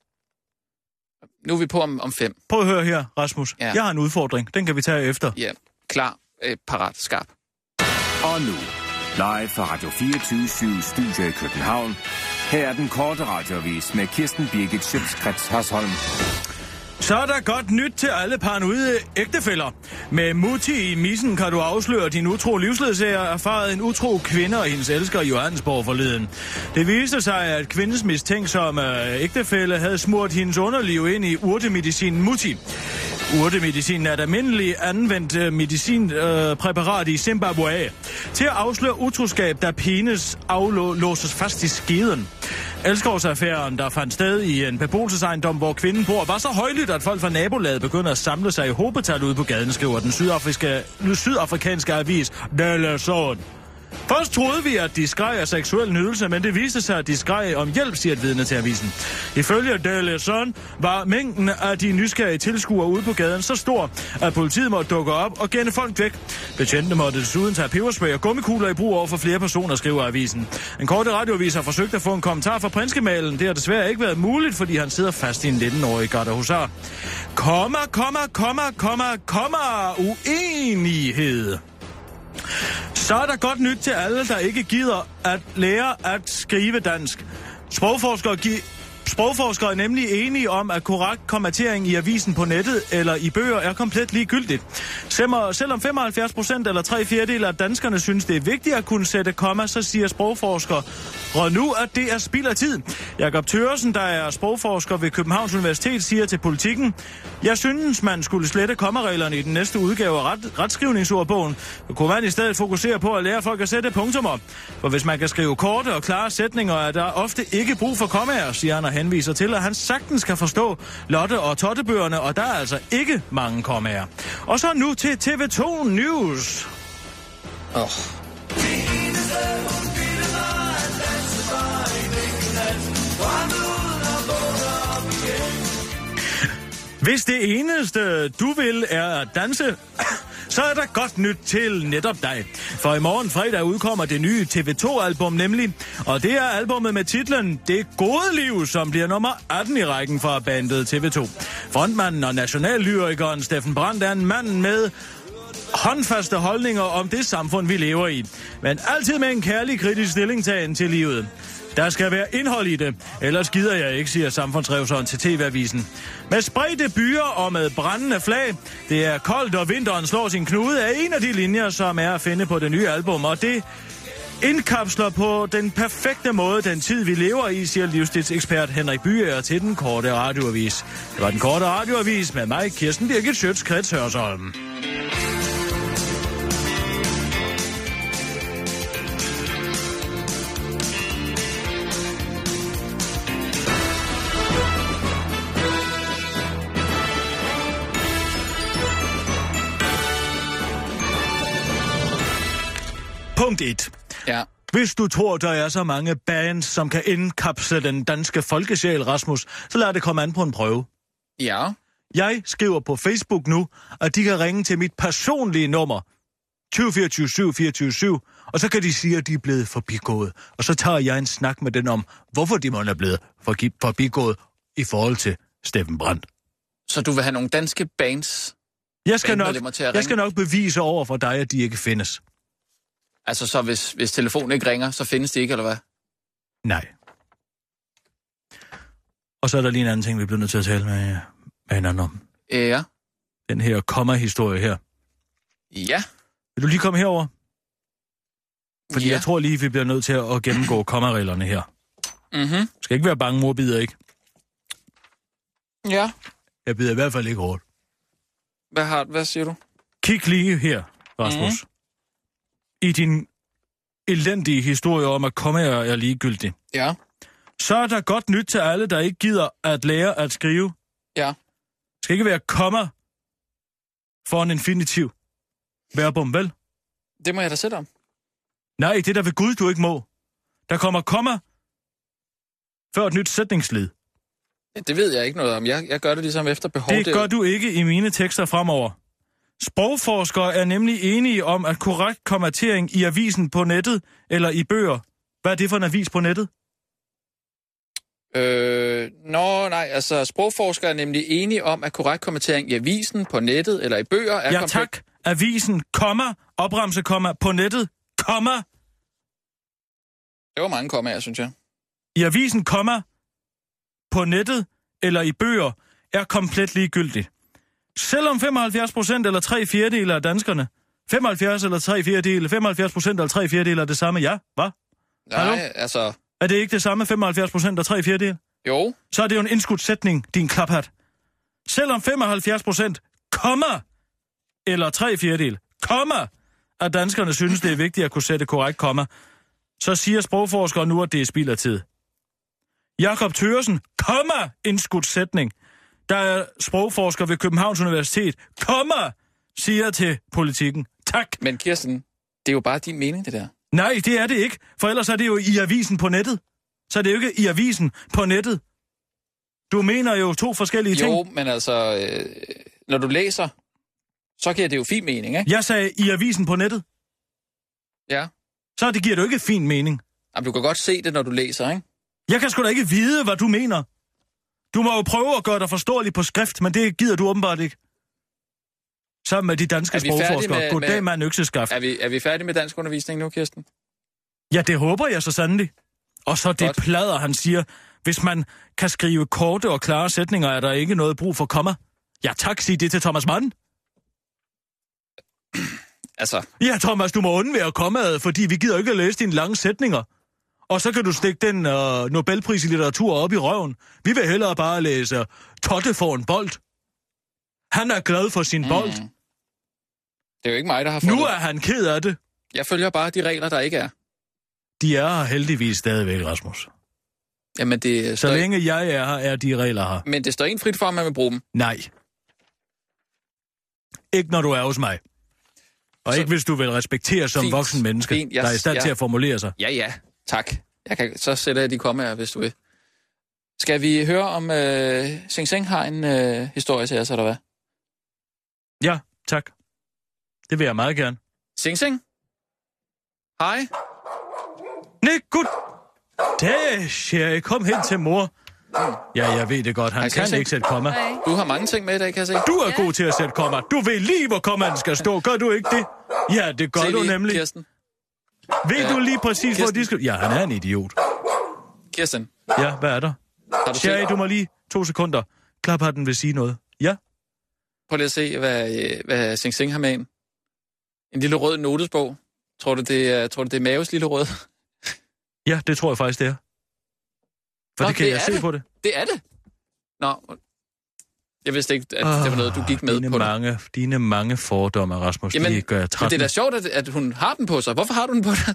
S4: Nu er vi på om, om fem.
S5: Prøv at høre her, Rasmus.
S4: Ja.
S5: Ja. Jeg har en udfordring. Den kan vi tage efter.
S4: Ja, klar, øh, parat, skarp.
S6: Og nu, live fra Radio 24 Studio i København. Her er den korte radiovis med Kirsten Birgit Schøtzgrads Hasholm.
S5: Så er der godt nyt til alle paranoide ægtefælder. Med Mutti i missen kan du afsløre din utro livsledsager, erfaret en utro kvinde og hendes elsker i Johannesborg forleden. Det viste sig, at kvindens mistænksomme øh, ægtefælle havde smurt hendes underliv ind i urtemedicinen Mutti. Urtemedicinen er et almindeligt anvendt øh, medicinpræparat i Zimbabwe. Til at afsløre utroskab, der penis aflåses fast i skeden. Elskovsaffæren, der fandt sted i en beboelsesejendom, hvor kvinden bor, var så højlydt, at folk fra nabolaget begynder at samle sig i hobetal ude på gaden, skriver den sydafriske, sydafrikanske avis Daily Sun. Først troede vi, at de skreg af seksuel nydelse, men det viste sig, at de skreg om hjælp, siger et vidne til avisen. Ifølge Daily Sun var mængden af de nysgerrige tilskuere ude på gaden så stor, at politiet måtte dukke op og gænde folk væk. Betjentene måtte desuden tage peberspray og gummikugler i brug over for flere personer, skriver avisen. En korte radioavis har forsøgt at få en kommentar fra prinskemalen. Det har desværre ikke været muligt, fordi han sidder fast i en 19-årig gardehusar. Komma, komma, komma, komma, komma, uenighed. Så er der godt nyt til alle, der ikke gider at lære at skrive dansk. Sprogforskere, gi- Sprogforskere er nemlig enige om, at korrekt kommentering i avisen på nettet eller i bøger er komplet ligegyldigt. Semmer- Selvom 75 procent eller 3 fjerdedel af danskerne synes, det er vigtigt at kunne sætte komma, så siger sprogforskere, og nu at det er spild af tid. Jakob Thøresen, der er sprogforsker ved Københavns Universitet, siger til politikken, jeg synes, man skulle slette kommareglerne i den næste udgave af ret, retskrivningsordbogen. Kunne man i stedet fokusere på at lære folk at sætte punktum op? For hvis man kan skrive korte og klare sætninger, er der ofte ikke brug for kommaer, siger han og henviser til, at han sagtens kan forstå Lotte og Tottebøgerne, og der er altså ikke mange kommaer. Og så nu til TV2 News.
S4: Oh.
S5: Hvis det eneste, du vil, er at danse, <coughs> så er der godt nyt til netop dig. For i morgen fredag udkommer det nye TV2-album nemlig, og det er albummet med titlen Det gode liv, som bliver nummer 18 i rækken fra bandet TV2. Frontmanden og nationallyrikeren Steffen Brandt er en mand med håndfaste holdninger om det samfund, vi lever i. Men altid med en kærlig kritisk stillingtagen til livet. Der skal være indhold i det, ellers gider jeg ikke, siger samfundsrevseren til TV-avisen. Med spredte byer og med brændende flag, det er koldt og vinteren slår sin knude, er en af de linjer, som er at finde på det nye album, og det indkapsler på den perfekte måde den tid, vi lever i, siger livsstilsekspert Henrik Byer til den korte radioavis. Det var den korte radioavis med mig, Kirsten Birgit Schøtz, Krets Hørsholm. Punkt 1.
S4: Ja.
S5: Hvis du tror, der er så mange bands, som kan indkapsle den danske folkesjæl, Rasmus, så lad det komme an på en prøve.
S4: ja,
S5: Jeg skriver på Facebook nu, at de kan ringe til mit personlige nummer, 2024 724 og så kan de sige, at de er blevet forbigået. Og så tager jeg en snak med den om, hvorfor de måtte er blevet forgi- forbigået i forhold til Steffen Brandt.
S4: så du vil have nogle danske bands,
S5: Jeg skal, nok,
S4: Bandmedlemmer til at ringe.
S5: jeg skal nok bevise over for dig, at de ikke findes.
S4: altså så hvis, hvis telefonen ikke ringer, så findes de ikke, eller hvad?
S5: Nej. Og så er der lige en anden ting, vi bliver nødt til at tale med, med hinanden om.
S4: Øh, ja.
S5: Den her komma-historie her.
S4: Ja.
S5: Vil du lige komme herover? Fordi
S4: ja.
S5: ja. jeg tror lige, vi bliver nødt til at gennemgå kommareglerne her.
S4: Mm-hmm.
S5: Du skal ikke være bange, mor bider ikke.
S4: Ja.
S5: Jeg bider i hvert fald ikke hårdt.
S4: Hvad, har, hvad siger du?
S5: Kig lige her, Rasmus. Mm. I din elendige historie om, at kommaer er ligegyldige.
S4: Ja.
S5: Så er der godt nyt til alle, der ikke gider at lære at skrive.
S4: Ja.
S5: Det skal ikke være komma for en infinitiv. Værbom, vel?
S4: Det må jeg da sætte om.
S5: Nej, det er der ved Gud, du ikke må. Der kommer komma før et nyt sætningsled.
S4: Ja, det ved jeg ikke noget om. Jeg, jeg gør det ligesom efter behov.
S5: Det
S4: er
S5: gør
S4: jo-
S5: du ikke i mine tekster fremover. Sprogforskere er nemlig enige om, at korrekt kommatering i avisen på nettet eller i bøger. Hvad er det for en avis på nettet?
S4: Øh, nå, nej, altså sprogforskere er nemlig enige om, at korrekt kommentering i avisen, på nettet eller i bøger er...
S5: Ja,
S4: kompleks-
S5: tak. Avisen, komma, opremse, komma, på nettet, komma,
S4: Det var mange kommaer, synes jeg.
S5: i avisen, komma, på nettet eller i bøger, er komplet ligegyldigt. Selvom 75 procent eller 3 fjerdedele af danskerne, 75 eller 3 fjerdedele, 75 procent eller 3 fjerdedele er det samme, ja, hvad?
S4: Nej,
S5: Hallo?
S4: altså...
S5: Er det ikke det samme 75 procent og 3 fjerdedele?
S4: Jo,
S5: så er det jo en indskudt sætning, din klaphat. Selvom 75 procent kommer, eller tre fjerdedel kommer, at danskerne synes, det er vigtigt at kunne sætte korrekt komma, så siger sprogforskere nu, at det er spild af tid. Jakob Thøresen, kommer, indskudt sætning. Der er sprogforsker ved Københavns Universitet, kommer, siger til politikken. Tak.
S4: men Kirsten, det er jo bare din mening, det der.
S5: Nej, det er det ikke, for ellers er det jo i avisen på nettet. Så er det jo ikke i avisen på nettet. Du mener jo to forskellige ting.
S4: Jo, men altså, øh, når du læser, så giver det jo fin mening, ikke?
S5: Jeg sagde i avisen på nettet.
S4: Ja.
S5: Så det giver det jo ikke fin mening.
S4: Jamen, du kan godt se det, når du læser, ikke?
S5: Jeg kan sgu da ikke vide, hvad du mener. Du må jo prøve at gøre dig forståelig på skrift, men det gider du åbenbart ikke. Sammen med de danske
S4: Er vi færdige
S5: sprogforskere.
S4: med-
S5: Goddag,
S4: med-
S5: mand økseskaft.
S4: Er vi, er vi færdige med dansk undervisning nu, Kirsten?
S5: Ja, det håber jeg så sandelig. Og så det
S4: Godt.
S5: plader, han siger. Hvis man kan skrive korte og klare sætninger, er der ikke noget brug for komma. Ja tak, sig det til Thomas Mann.
S4: Altså,
S5: Ja, Thomas, du må undvære kommaet, fordi vi gider ikke at læse dine lange sætninger. Og så kan du stikke den øh, Nobelpris i litteratur op i røven. Vi vil hellere bare læse Totte får en bold. Han er glad for sin mm. bold.
S4: det er jo ikke mig, der har fundet...
S5: Nu er han ked af det.
S4: Jeg følger bare de regler, der ikke er.
S5: De er her heldigvis stadigvæk, Rasmus.
S4: Jamen, det
S5: Så
S4: står,
S5: længe jeg er her, er de regler her.
S4: men det står en frit for, om man vil bruge dem.
S5: Nej. Ikke når du er hos mig. Og
S4: Så-
S5: så... ikke hvis du vil respektere som
S4: Fint.
S5: voksen menneske,
S4: Fint, jeg-
S5: der er i stand
S4: jeg-
S5: til at formulere sig.
S4: Ja, ja. Tak. Jeg kan, så sætter jeg de kommaer, hvis du vil. Skal vi høre om øh, Sing Sing har en øh, historie til os, eller hvad?
S5: Ja, tak. Det vil jeg meget gerne.
S4: Sing Sing? Hej.
S5: Nej, gud. Det, Sherry, kom hen til mor. Ja, jeg ved det godt. Han
S4: Hej,
S5: kan
S4: Sisse.
S5: ikke sætte komma.
S4: Du har mange ting med i dag, kan jeg se.
S5: Du er god til at sætte komma. Du ved lige, hvor kommaen skal stå. Gør du ikke det? Ja, det gør
S4: Se
S5: du
S4: lige,
S5: nemlig.
S4: Kirsten.
S5: Ved du lige præcis, hvor
S4: Kirsten.
S5: de skal... Ja, han er en idiot.
S4: Kirsten,
S5: Ja, hvad er der?
S4: har du
S5: Sherry,
S4: set?
S5: du må lige to sekunder. Klap har den vil sige noget. Ja,
S4: Prøv lige at se, hvad, øh, hvad Sing Sing har med ind. En lille rød notesbog. Tror du, det er, tror du, det er Maves lille rød? <laughs>
S5: ja, det tror jeg faktisk, det er. For
S4: Nå,
S5: det kan
S4: det
S5: jeg
S4: er
S5: se
S4: det.
S5: på det.
S4: Det er det. Nå, jeg vidste ikke, at det var noget, du gik med
S5: Ah, dine
S4: på. det.
S5: mange, Dine mange fordomme, Rasmus, Jamen, de gør jeg
S4: men
S5: træt.
S4: det er da sjovt, at, at hun har den på sig. Hvorfor har du den på dig?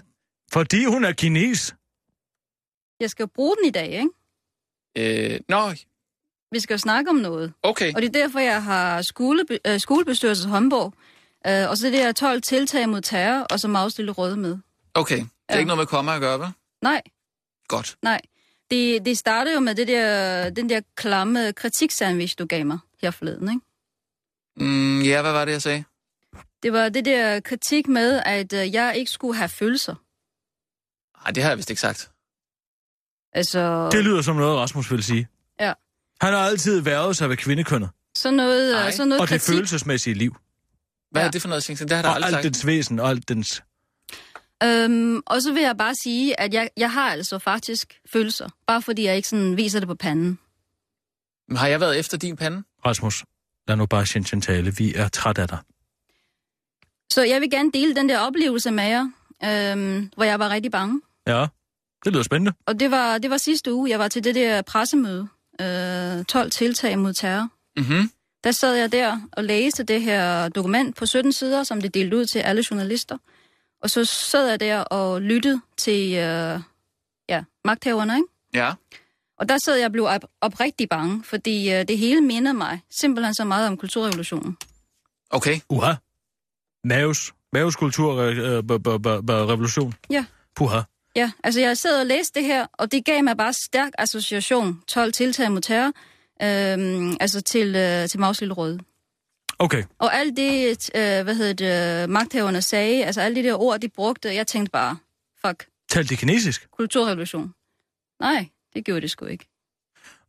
S5: Fordi hun er kines.
S8: Jeg skal jo bruge den i dag, ikke?
S4: Øh, nå,
S8: Vi skal jo snakke om noget.
S4: okay.
S8: Og det er derfor, jeg har skole, øh, skolebestyrelses håndbog. Øh, og så er det her 12 tiltag mod terror, og så Maus Lille Røde med.
S4: Okay, det er
S8: Ja.
S4: ikke noget med komma at gøre, vel?
S8: Nej,
S4: Godt.
S8: nej. Det, det startede jo med det der, den der klamme kritiksandwich, du gav mig her forleden, ikke?
S4: Mm, ja, hvad var det, jeg sagde?
S8: Det var det der kritik med, at øh, jeg ikke skulle have følelser.
S4: Nej, det har jeg vist ikke sagt.
S8: Altså,
S5: Det lyder som noget, Rasmus vil sige.
S8: Ja.
S5: Han har altid været sig ved kvindekønnet
S8: sådan noget,
S4: Ej.
S8: øh, sådan noget
S5: og det
S8: kritik.
S5: følelsesmæssige liv.
S4: Hvad ja.
S8: Ja.
S4: er det for noget, Sing Sing? Det har jeg
S5: Og
S4: da
S5: alt
S4: aldrig sagt.
S5: dens væsen og alt dens...
S8: Øhm, og så vil jeg bare sige, at jeg, jeg har altså faktisk følelser. Bare fordi jeg ikke sådan viser det på panden.
S4: Men har jeg været efter din pande?
S5: Rasmus, lad nu bare Shenzhen tale. Vi er træt af dig.
S8: Så jeg vil gerne dele den der oplevelse med jer, øhm, hvor jeg var rigtig bange.
S5: Ja, det lyder spændende.
S8: Og det var, det var sidste uge, jeg var til det der pressemøde, øh, 12 tiltag mod terror.
S4: Mhm.
S8: Der sad jeg der og læste det her dokument på 17 sider, som det delte ud til alle journalister. Og så sad jeg der og lyttede til øh, ja, magthaverne, ikke?
S4: Ja.
S8: Og der sad jeg og blev op, oprigtig bange, fordi øh, det hele minder mig simpelthen så meget om kulturrevolutionen.
S4: Okay.
S5: Uha. Maves. Maves øh, kulturrevolution.
S8: Ja.
S5: Puha.
S8: Ja, altså jeg sad og læste det her, og det gav mig bare stærk association. 12 tiltag mod terror, øhm, altså til, øh, til Maus Lille Røde.
S5: Okay.
S8: Og alt det, øh, hvad hedder det, magthaverne sagde, altså alle de der ord, de brugte, jeg tænkte bare, fuck,
S5: Tal det kinesisk.
S8: kulturrevolution. Nej, det gjorde det sgu ikke.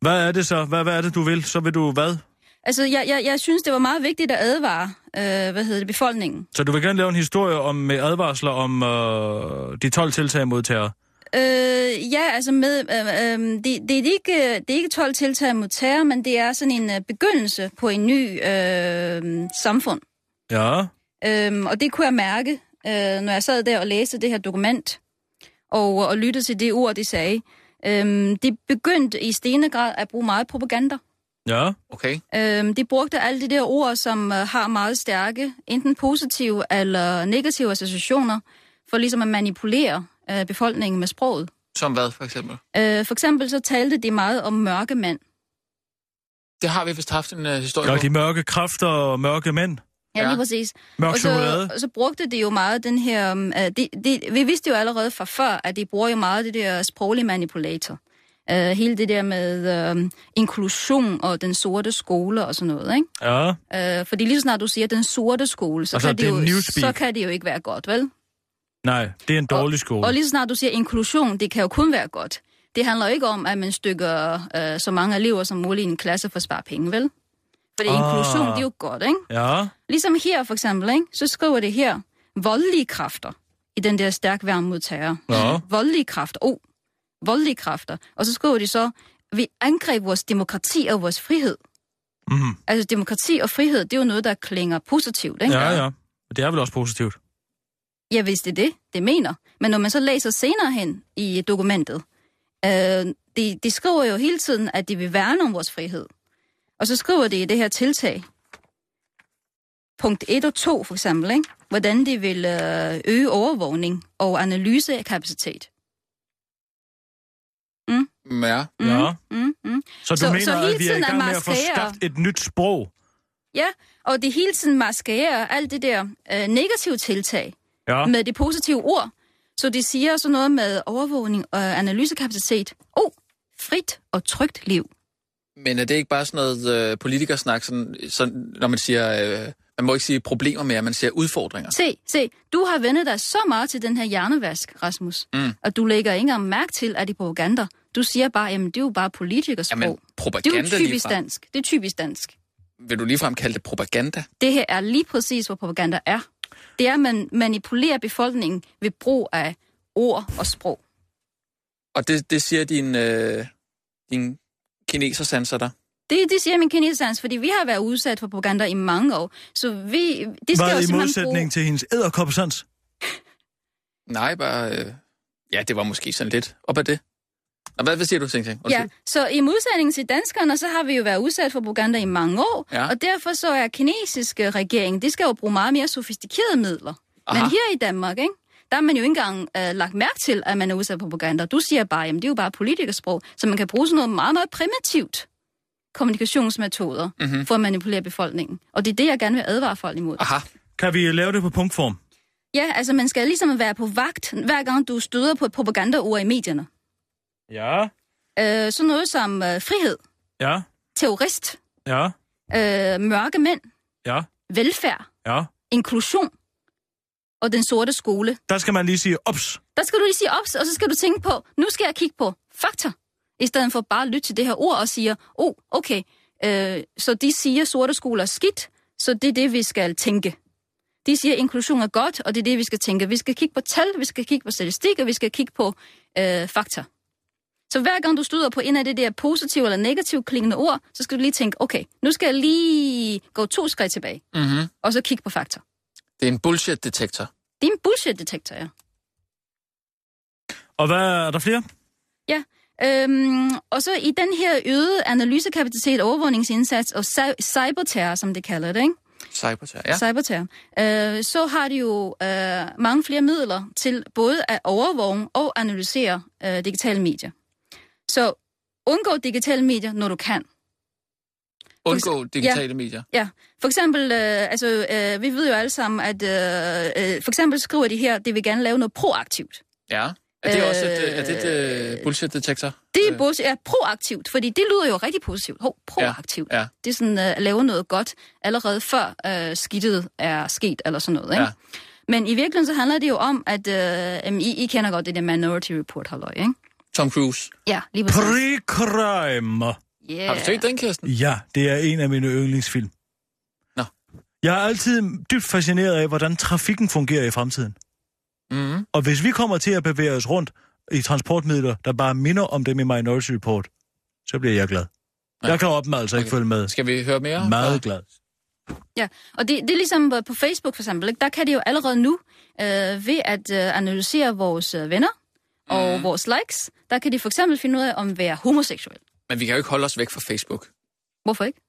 S5: Hvad er det så? Hvad, hvad er det, du vil? Så vil du hvad?
S8: Altså, jeg, jeg, jeg synes, det var meget vigtigt at advare, øh, hvad hedder det, befolkningen.
S5: Så du vil gerne lave en historie om, med advarsler om øh, de 12 tiltag mod terror?
S8: Øh, ja, altså med, øh, øh, det, det, er ikke, det er ikke 12 tiltag mod terror, men det er sådan en øh, begyndelse på en ny øh, samfund.
S5: Ja.
S8: Øhm, og det kunne jeg mærke, øh, når jeg sad der og læste det her dokument, og, og lyttede til det ord, de sagde. Øhm, de begyndte i stigende grad at bruge meget propaganda.
S5: Ja.
S4: Okay.
S8: Øhm, de brugte alle de der ord, som øh, har meget stærke, enten positive eller negative associationer, for ligesom at manipulere øh, befolkningen med sproget.
S4: Som hvad, for eksempel?
S8: Øh, for eksempel så talte de meget om mørke mænd.
S4: Det har vi vist haft en uh, historie
S5: Nå,
S4: om.
S5: de mørke kræfter og mørke mænd.
S8: Ja,
S4: Ja.
S8: lige præcis.
S5: Mørk
S8: og
S5: chokolade.
S8: så, og så brugte de jo meget den her... Um, de, de, vi vidste jo allerede fra før, at de bruger jo meget det der sproglige manipulator. Uh, hele det der med um, inklusion og den sorte skole og sådan noget,
S5: Ja.
S8: ikke? Uh, fordi lige så snart du siger den sorte skole, så,
S5: Og så
S8: kan
S5: det er
S8: jo,
S5: newspeak.
S8: så kan det jo ikke være godt, vel?
S5: Nej, det er en dårlig skole.
S8: Og lige så snart du siger inklusion, det kan jo kun være godt. Det handler jo ikke om, at man stykker uh, så mange elever som muligt i en klasse for at spare penge, vel? Fordi
S5: Ah.
S8: inklusion, det er jo godt, ikke?
S5: Ja.
S8: Ligesom her for eksempel, ikke? så skriver det her, voldelige kræfter i den der stærk værn mod terror.
S5: Ja.
S8: Voldelige kræfter, oh, voldelige kræfter. Og så skriver de så, vi angreb vores demokrati og vores frihed.
S5: Mm.
S8: Altså demokrati og frihed, det er jo noget, der klinger positivt, ikke?
S5: Ja, ja. Det er vel også positivt.
S8: Ja, hvis det er det, det mener. Men når man så læser senere hen i dokumentet, øh, de, de skriver jo hele tiden, at de vil værne om vores frihed. Og så skriver de i det her tiltag, punkt 1 og 2 for eksempel, ikke? hvordan de vil øh, øge overvågning og analyse af kapacitet.
S4: Ja.
S8: Mm,
S5: Ja.
S8: Mm, mm.
S5: Så du
S8: Så-
S5: mener,
S8: så hele
S5: at vi er i
S8: tiden er
S5: gang med at få
S8: maskerer-
S5: skabt et nyt sprog?
S8: Ja, og det hele tiden maskerer alt det der øh, negative tiltag
S5: Ja.
S8: med det positive ord. Så de siger sådan noget med overvågning og analysekapacitet. Oh, frit og trygt liv.
S4: Men er det ikke bare sådan noget øh, politikersnak, sådan, sådan, når man siger, øh, man må ikke sige problemer mere, man siger udfordringer?
S8: Se, se, du har vendet dig så meget til den her hjernevask, Rasmus,
S4: Mm.
S8: og du lægger ikke engang mærke til, at de propaganda. Du siger bare, jamen det er jo bare politikersprog.
S4: Jamen,
S8: det er
S4: propaganda
S8: jo typisk
S4: ligefrem.
S8: dansk. Det er typisk dansk.
S4: Vil du ligefrem kalde det propaganda?
S8: Det her er lige præcis, hvad propaganda er. Det er, at man manipulerer befolkningen ved brug af ord og sprog.
S4: Og det, det siger din, øh, din kineser sanser dig.
S8: Det, det siger min kinesans, fordi vi har været udsat for propaganda i mange år. Så vi, det skal jo
S5: Hvad i
S8: simpelthen
S5: modsætning
S8: bruge...
S5: til hendes æderkoppesans?
S4: Nej, bare... Øh, ja, det var måske sådan lidt op af det. Og hvad, hvad siger du, Sing Sing?
S8: Ja, så i modsætning til danskerne, så har vi jo været udsat for propaganda i mange år,
S4: Ja.
S8: og derfor så er kinesiske regering, det skal jo bruge meget mere sofistikerede midler. Aha.
S4: Aha.
S8: Men her i Danmark, ikke? der har man jo ikke engang øh, lagt mærke til, at man er udsat for propaganda. Du siger bare, jamen det er jo bare politikersprog, så man kan bruge sådan noget meget, meget primitivt kommunikationsmetoder
S4: Mhm. Ah.
S8: mm-hmm. for at manipulere befolkningen. Og det er det, jeg gerne vil advare folk imod.
S4: Aha.
S5: Kan vi lave det på punktform?
S8: Ja, altså man skal ligesom være på vagt, hver gang du støder på et propagandaord i medierne.
S5: Ja.
S8: Øh, sådan noget som øh, frihed,
S5: Ja.
S8: terrorist,
S5: Ja.
S8: øh, mørke mænd,
S5: Ja.
S8: velfærd,
S5: Ja.
S8: inklusion og den sorte skole.
S5: Der skal man lige sige, ops,
S8: Der skal du lige sige ops, og så skal du tænke på, nu skal jeg kigge på fakta, i stedet for bare at lytte til det her ord og sige, oh, okay, øh, så de siger, sorte skoler er skidt, så det er det, vi skal tænke. De siger, inklusion er godt, og det er det, vi skal tænke. Vi skal kigge på tal, vi skal kigge på statistik, og vi skal kigge på øh, fakta. Så hver gang du støder på en af det der positive eller negative klingende ord, så skal du lige tænke, okay, nu skal jeg lige gå to skridt tilbage,
S4: Mm-hmm.
S8: og så kigge på fakta.
S4: Det er en bullshit-detektor.
S8: Det er en bullshit-detektor, ja.
S5: Og hvad er der flere?
S8: Øhm, og så i den her øgede analysekapacitet, overvågningsindsats og cy- cyberterror, som det kalder det, ikke?
S4: Cyberterror. Ja.
S8: Cyberterror. Øh, så har de jo øh, mange flere midler til både at overvåge og analysere øh, digitale medier. Så undgå digitale medier, når du kan.
S4: Undgå digitale medier.
S8: Ja, for eksempel, øh, altså, øh, vi ved jo alle sammen, at øh, øh, for eksempel skriver de her, det vil gerne lave noget proaktivt.
S4: Ja. Er det også et, øh, er det et øh, bullshit-detektor?
S8: Det er både ja, proaktivt, fordi det lyder jo rigtig positivt. Hov, proaktivt.
S4: Ja, ja.
S8: Det er sådan øh, at lave noget godt allerede før øh, skidtet er sket eller sådan noget. Ikke?
S4: Ja.
S8: Men i virkeligheden så handler det jo om, at øh, jamen, I, I kender godt det der Minority Report, halløj, ikke?
S4: Tom Cruise.
S8: Ja, lige præcis.
S5: Pre-crime.
S8: Yeah.
S4: Har du set den, Kirsten?
S5: Ja, det er en af mine yndlingsfilm.
S4: Nå.
S5: Jeg er altid dybt fascineret af, hvordan trafikken fungerer i fremtiden.
S4: Mm-hmm.
S5: Og hvis vi kommer til at bevæge os rundt i transportmidler, der bare minder om dem i Minority Report, så bliver jeg glad.
S4: Ja.
S5: Jeg kan op dem altså ikke
S4: Okay.
S5: følge med.
S4: Skal vi høre mere?
S5: Meget glad.
S8: Ja, og det, det er ligesom øh, på Facebook for eksempel, ikke? der kan det jo allerede nu, øh, ved at øh, analysere vores øh, venner og mm. vores likes, der kan de for eksempel finde ud af, om vi er homoseksuel.
S4: Men vi kan jo ikke holde os væk fra Facebook.
S8: Hvorfor ikke?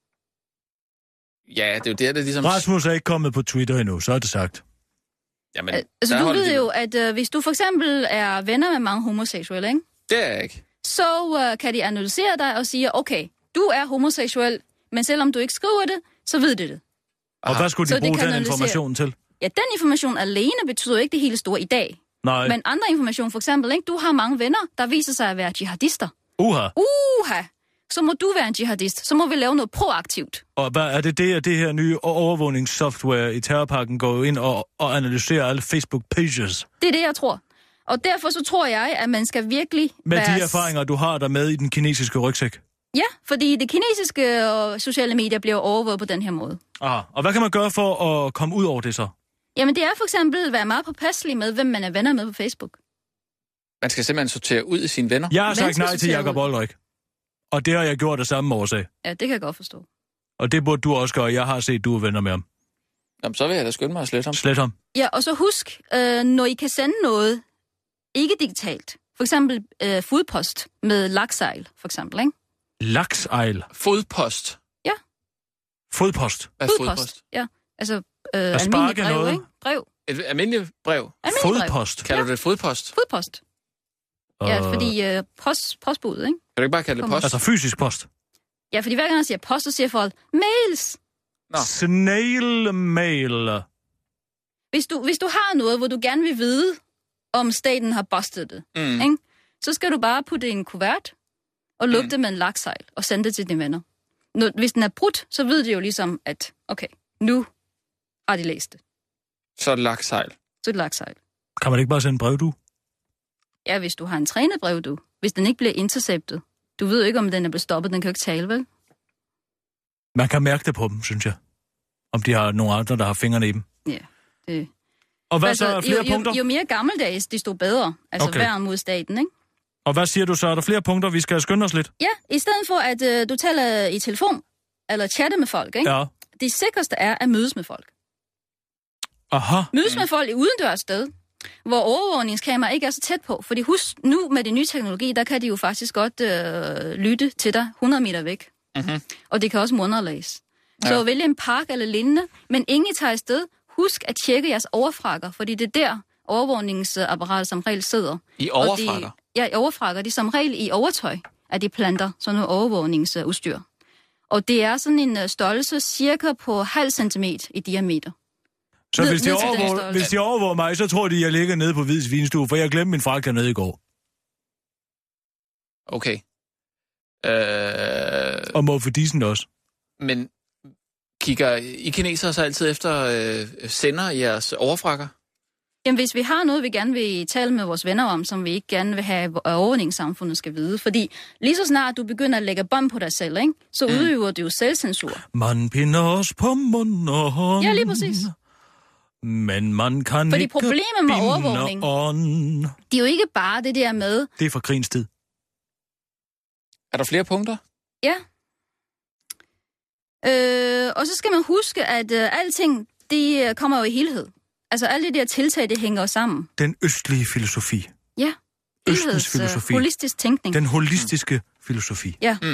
S4: Ja, det er jo der, det er ligesom...
S5: Rasmus er ikke kommet på Twitter endnu, så er det sagt.
S4: Jamen,
S8: Øh, altså,
S4: der
S8: du
S4: holder
S8: ved
S4: de-
S8: jo, at øh, hvis du for eksempel er venner med mange homoseksuelle, ikke?
S4: Det er jeg ikke.
S8: så øh, kan de analysere dig og sige, okay, du er homoseksuel, men selvom du ikke skriver det, så ved de det.
S4: Ah.
S5: Og hvad skulle
S8: Så
S5: de
S8: det
S5: bruge
S8: kan
S5: den
S8: analysere.
S5: information til?
S8: Ja, den information alene betyder jo ikke det hele store i dag.
S5: Nej,
S8: Men andre information, for eksempel, ikke? du har mange venner, der viser sig at være jihadister.
S5: uha.
S8: Uha! Så må du være en jihadist. Så må vi lave noget proaktivt.
S5: Og hvad er det det, at det her nye overvågningssoftware i terrorpakken går ind og, og analyserer alle Facebook-pages?
S8: Det er det, jeg tror. Og derfor så tror jeg, at man skal virkelig
S5: Med
S8: være...
S5: de erfaringer, du har der med i den kinesiske rygsæk?
S8: Ja, fordi det kinesiske øh, og sociale medier bliver overvåget på den her måde.
S5: Aha.
S4: Ah.
S5: Og hvad kan man gøre for at komme ud over det så?
S8: Jamen det er for eksempel at være meget påpasselig med, hvem man er venner med på Facebook.
S4: Man skal simpelthen sortere ud i sine venner.
S5: Jeg har
S8: Man
S5: sagt
S8: skal
S5: nej til
S8: sortere
S5: Jakob
S8: ud.
S5: Olrik. Og det har jeg gjort af samme årsag.
S8: Ja, det kan jeg godt forstå.
S5: Og det burde du også gøre. Jeg har set, du er venner med ham.
S4: Jamen, så vil jeg da skynde mig at slette ham.
S5: Slet ham.
S8: Ja, og så husk, øh, når I kan sende noget, ikke digitalt. For eksempel øh, fodpost med laksejl, for eksempel, ikke?
S5: Laksejl.
S4: Fodpost.
S5: Fodpost.
S4: Hvad er fodpost?
S8: Ja, altså øh,
S5: At sparke
S8: almindelig brev,
S5: noget.
S8: ikke? Brev.
S4: Et almindeligt brev.
S8: Almindelig brev.
S5: Fodpost.
S4: Kalder du det fodpost?
S8: Fodpost. Ja,
S5: Og-
S8: fordi øh, post, postbuddet, ikke?
S4: Kan du ikke bare kalde det
S8: Kom.
S4: post?
S5: Altså fysisk post.
S8: Ja, fordi hver gang jeg siger post, så siger folk, mails!
S4: Nå.
S5: Snail mail.
S8: Hvis du, hvis du har noget, hvor du gerne vil vide, om staten har bustet det,
S4: Mm.
S8: ikke? så skal du bare putte det i en kuvert og lukke mm. det med en laksejl og sende det til dine venner. Når, hvis den er brudt, så ved de jo ligesom, at okay, nu har de læst det.
S4: Så er det lagt sejl.
S8: Så er det laksejl.
S5: Kan man ikke bare sende brev, du?
S8: Ja, hvis du har en trænet brev, du. Hvis den ikke bliver interceptet. Du ved jo ikke, om den er blevet stoppet. Den kan jo ikke tale, vel?
S5: Man kan mærke det på dem, synes jeg. Om de har nogle andre, der har fingrene i dem.
S8: Ja. Det. Altså,
S5: Og hvad så er flere
S8: jo,
S5: punkter?
S8: jo, jo mere gammeldags, desto bedre. Altså
S5: Okay.
S8: okay. værn mod staten, ikke?
S5: Og hvad siger du så? Er der flere punkter, vi skal skynde os lidt?
S8: Ja, i stedet for, at øh, du taler i telefon eller chatte med folk, ikke? Ja.
S5: Ja.
S8: Det sikreste er at mødes med folk.
S5: Aha.
S4: Mm.
S8: Mødes med folk i udendørs sted, hvor overvågningskamera ikke er så tæt på. Fordi husk, nu med den nye teknologi, der kan de jo faktisk godt øh, lytte til dig 100 meter væk.
S4: Mhm.
S8: Og det kan også munderlæse. Så
S4: Ja.
S8: ja. vælg en park eller lignende, men ingen I tager afsted. Husk at tjekke jeres overfrakker, fordi det er der overvågningsapparatet som regel sidder.
S4: I
S8: Og
S4: overfrakker.
S8: De, ja, i overfrakker. De er som regel i overtøj, at de planter sådan noget overvågningsudstyr. Og det er sådan en øh, størrelse cirka på halv centimeter i diameter.
S5: Så
S8: Ned-
S5: hvis de,
S8: ned til den
S5: overvåger,
S8: størrelse.
S5: hvis de overvåger mig, så tror de, jeg ligger nede på Hvids Vinstue, for jeg glemte min frak dernede i går.
S4: Okay. Øh,
S5: Og må for disen også.
S4: men kigger I kinesere så altid efter øh, sender i jeres overfrakker?
S8: Jamen, hvis vi har noget, vi gerne vil tale med vores venner om, som vi ikke gerne vil have, at overvågningssamfundet skal vide. Fordi lige så snart du begynder at lægge bånd på dig selv, ikke? så
S5: Mm.
S8: udøver du jo selvcensur.
S5: Man pinder os på mund og hånd.
S8: Ja, lige præcis.
S5: Men man kan
S8: Fordi
S5: ikke
S8: problemet med
S5: binde
S8: overvågning-
S5: ånd.
S8: Det er jo ikke bare det der med,
S5: Det er fra krigens tid.
S4: Er der flere punkter?
S8: ja. Øh, og så skal man huske, at øh, alting, det øh, kommer jo i helhed. Altså alle de der tiltag, det hænger jo sammen.
S5: Den østlige filosofi.
S8: Ja.
S5: Østens
S8: Helheds, øh,
S5: filosofi.
S8: holistisk tænkning.
S5: Den holistiske filosofi.
S8: Ja.
S4: Mm.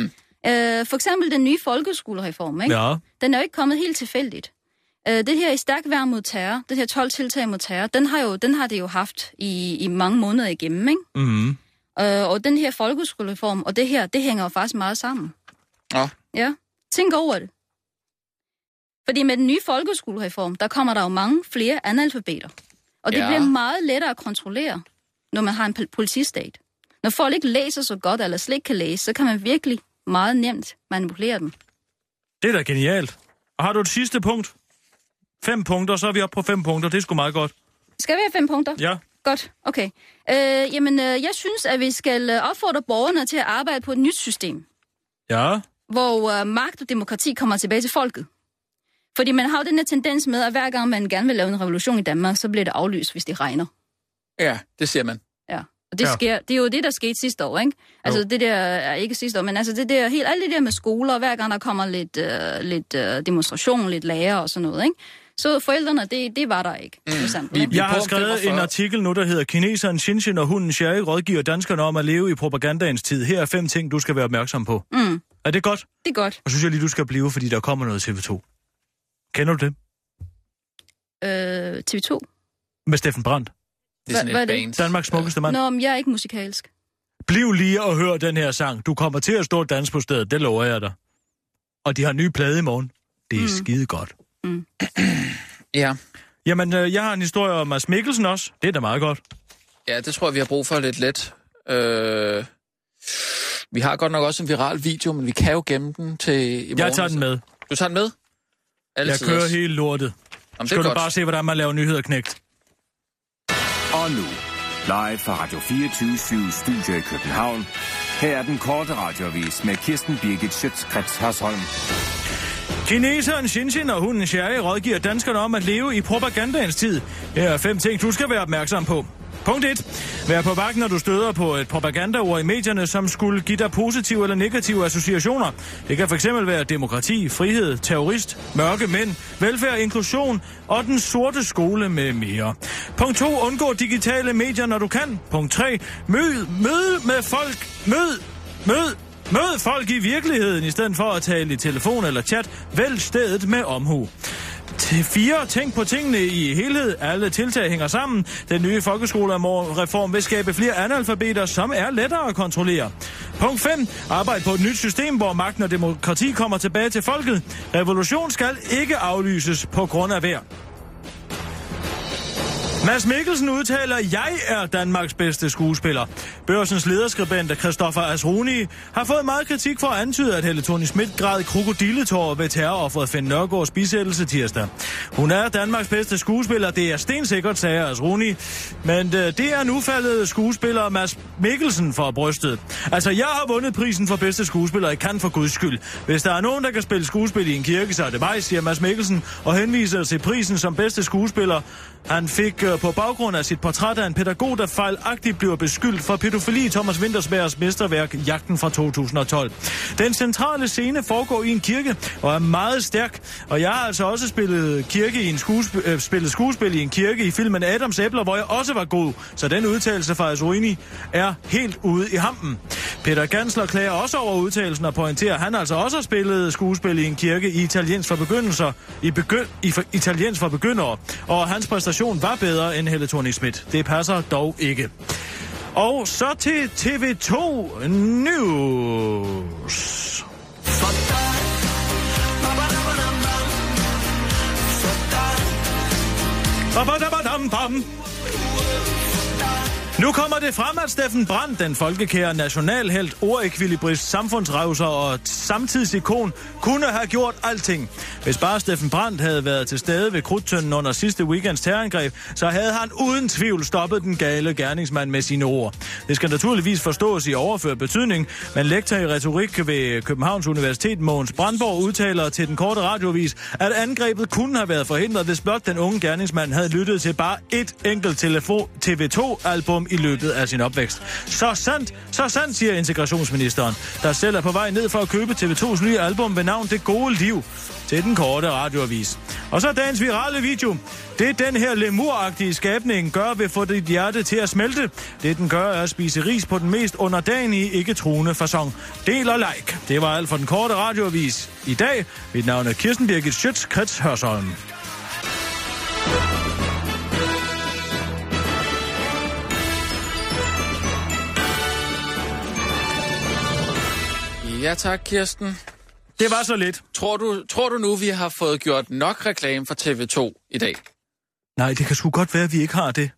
S8: Øh, for eksempel den nye folkeskolereform, ikke?
S5: Ja.
S8: Den er jo ikke kommet helt tilfældigt. Øh, det her i stærk værn mod terror, det her 12 tiltag mod terror, den har, jo, den har det jo haft i, i mange måneder igennem, ikke?
S5: Mm.
S8: Øh, og den her folkeskolereform og det her, det hænger jo faktisk meget sammen.
S4: Nå.
S8: Ja. Tænk over det. Fordi med den nye folkeskolereform, der kommer der jo mange flere analfabeter. Og det
S4: Ja.
S8: ja. bliver meget lettere at kontrollere, når man har en pol- politistat. Når folk ikke læser så godt, eller slet ikke kan læse, så kan man virkelig meget nemt manipulere dem.
S5: Det er da genialt. Og har du et sidste punkt? Fem punkter, så er vi oppe på fem punkter. Det er sgu meget godt.
S8: Skal vi have fem punkter?
S5: Ja.
S8: Godt, okay. Øh, jamen, øh, jeg synes, at vi skal øh, opfordre borgerne til at arbejde på et nyt system,
S5: Ja.
S8: hvor øh, magt og demokrati kommer tilbage til folket. Fordi man har jo den her tendens med, at hver gang man gerne vil lave en revolution i Danmark, så bliver det aflyst, hvis det regner.
S4: Ja, det siger man.
S8: Ja. Og det,
S5: Ja.
S8: ja. sker, det er jo det, der skete sidste år, ikke? Altså det der, er ikke sidste år, men altså det der, helt, alt det der med skoler, hver gang der kommer lidt, øh, lidt øh, demonstration, lidt lærer og sådan noget, ikke? Så forældrene, det, det var der ikke. Mm.
S4: Vi-
S8: Eksempel,
S4: vi-
S8: ja.
S5: Jeg har
S4: prøver
S5: skrevet
S4: 45.
S5: en artikel nu, der hedder Kineseren Shinshin og hunden Sherry rådgiver danskerne om at leve i propagandaens tid. Her er fem ting, du skal være opmærksom på.
S8: Mm,
S5: Er det godt?
S8: det er godt.
S5: Og synes jeg lige, du skal blive, fordi der kommer noget TV2. Kender du det?
S8: Øh, TV2.
S5: Med Steffen Brandt.
S4: Det er sådan
S8: Hvad-
S4: et
S8: hvad er det?
S4: band.
S5: Danmarks smukkeste mand.
S8: Nå, men jeg er ikke musikalsk.
S5: Bliv lige og hør den her sang. Du kommer til at stå og danse på stedet, det lover jeg dig. Og de har en ny plade i morgen. Det er mm. skide godt.
S4: Ja.
S5: Jamen, øh, jeg har en historie om Mads Mikkelsen også. Det er da meget godt.
S4: ja, det tror jeg, vi har brug for lidt let. Øh, vi har godt nok også en viral video, men vi kan jo gemme den til i morgen.
S5: Jeg tager den med.
S4: Du tager den med? Altid
S5: Jeg kører
S4: også.
S5: hele lortet.
S4: Jamen, det er
S5: Skal du
S4: godt.
S5: bare se, hvordan man laver nyheder, knægt.
S6: Og nu, live fra Radio 24 Studio i København. Her er den korte radiovis med Kirsten Birgit Schøtzgrads Hasholm.
S5: Kineseren Shinshin og hunden Sherry rådgiver danskerne om at leve i propagandaens tid. Her er fem ting, du skal være opmærksom på. Punkt 1. Vær på vagt, når du støder på et propagandaord i medierne, som skulle give dig positive eller negative associationer. Det kan fx være demokrati, frihed, terrorist, mørke mænd, velfærd, inklusion og den sorte skole med mere. Punkt 2. Undgå digitale medier, når du kan. Punkt 3. Mød, mød med folk. Mød, mød Mød folk i virkeligheden, i stedet for at tale i telefon eller chat. Vælg stedet med omhu. Til fire, tænk på tingene i helhed. Alle tiltag hænger sammen. Den nye folkeskolereform vil skabe flere analfabeter, som er lettere at kontrollere. Punkt 5. Arbejd på et nyt system, hvor magten og demokrati kommer tilbage til folket. Revolution skal ikke aflyses på grund af vejr. Mads Mikkelsen udtaler, at jeg er Danmarks bedste skuespiller. Børsens lederskribent Christoffer Asruni har fået meget kritik for at antyde, at Helle Thorning Schmidt græd krokodilletårer ved terrorofferet Finn Nørgaards bisættelse tirsdag. Hun er Danmarks bedste skuespiller, det er stensikkert, sagde Asruni. Men øh, det er nu faldet skuespiller Mads Mikkelsen for brystet. Altså, jeg har vundet prisen for bedste skuespiller i kan for guds skyld. Hvis der er nogen, der kan spille skuespil i en kirke, så er det mig, siger Mads Mikkelsen, og henviser til prisen som bedste skuespiller. Han fik øh, på baggrund af sit portræt af en pædagog, der fejlagtigt bliver beskyldt for pædofili i Thomas Wintersbergs mesterværk Jagten fra 2012. Den centrale scene foregår i en kirke og er meget stærk, og jeg har altså også spillet, kirke i en skuesp- øh, spillet skuespil i en kirke i filmen Adams Æbler, hvor jeg også var god, så den udtalelse fra Azruini er helt ude i hampen. Peter Gansler klager også over udtalelsen og pointerer, at han altså også har spillet skuespil i en kirke i italiensk for begyndelser, i, begynd, i for, italiensk for begyndere, og hans præstation var bedre end Helle thorning -Schmidt. Det passer dog ikke. Og så til TV2 News. Ba-ba-da-ba-dam-bam. Nu kommer det frem, at Steffen Brandt, den folkekære nationalhelt, ordekvilibrist, samfundsrevser og et samtidsikon, kunne have gjort alting. Hvis bare Steffen Brandt havde været til stede ved krudtønden under sidste weekends terrorangreb, så havde han uden tvivl stoppet den gale gerningsmand med sine ord. Det skal naturligvis forstås i overført betydning, men lektor i retorik ved Københavns Universitet, Mogens Brandborg, udtaler til den korte radiovis, at angrebet kunne have været forhindret, hvis blot den unge gerningsmand havde lyttet til bare et enkelt telefo- TV2-album i løbet af sin opvækst. Så sandt, så sandt, siger integrationsministeren, der selv er på vej ned for at købe TV2's nye album ved navn Det Gode Liv til den korte radioavis. Og så dagens virale video. Det den her lemuragtige skabning gør ved at få dit hjerte til at smelte. Det den gør er at spise ris på den mest underdanige, ikke truende fasong. Del og like. Det var alt for den korte radioavis. I dag, mit navn er Kirsten Birgit Schøtz, Krets Hørsholm.
S4: Ja tak, Kirsten.
S5: Det var så lidt.
S4: Tror du, tror du nu, vi har fået gjort nok reklame for TV2 i dag?
S5: Nej, det kan sgu godt være, at vi ikke har det.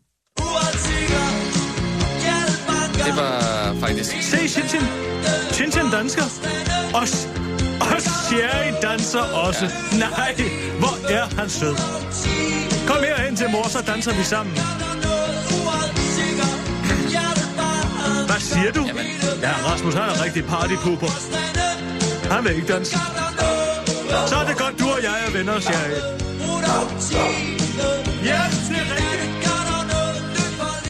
S4: Det var faktisk...
S5: Se, Tintin. Tintin dansker. Os. Og Sherry danser også. Ja. Nej, hvor er han sød. Kom herhen til mor, så danser vi sammen. Hvad siger du?
S4: Jamen.
S5: Ja, Rasmus, han er rigtig partypooper. Han vil ikke danse. Så er det godt, du og jeg er venner, Sherry. Ja, det er rigtigt.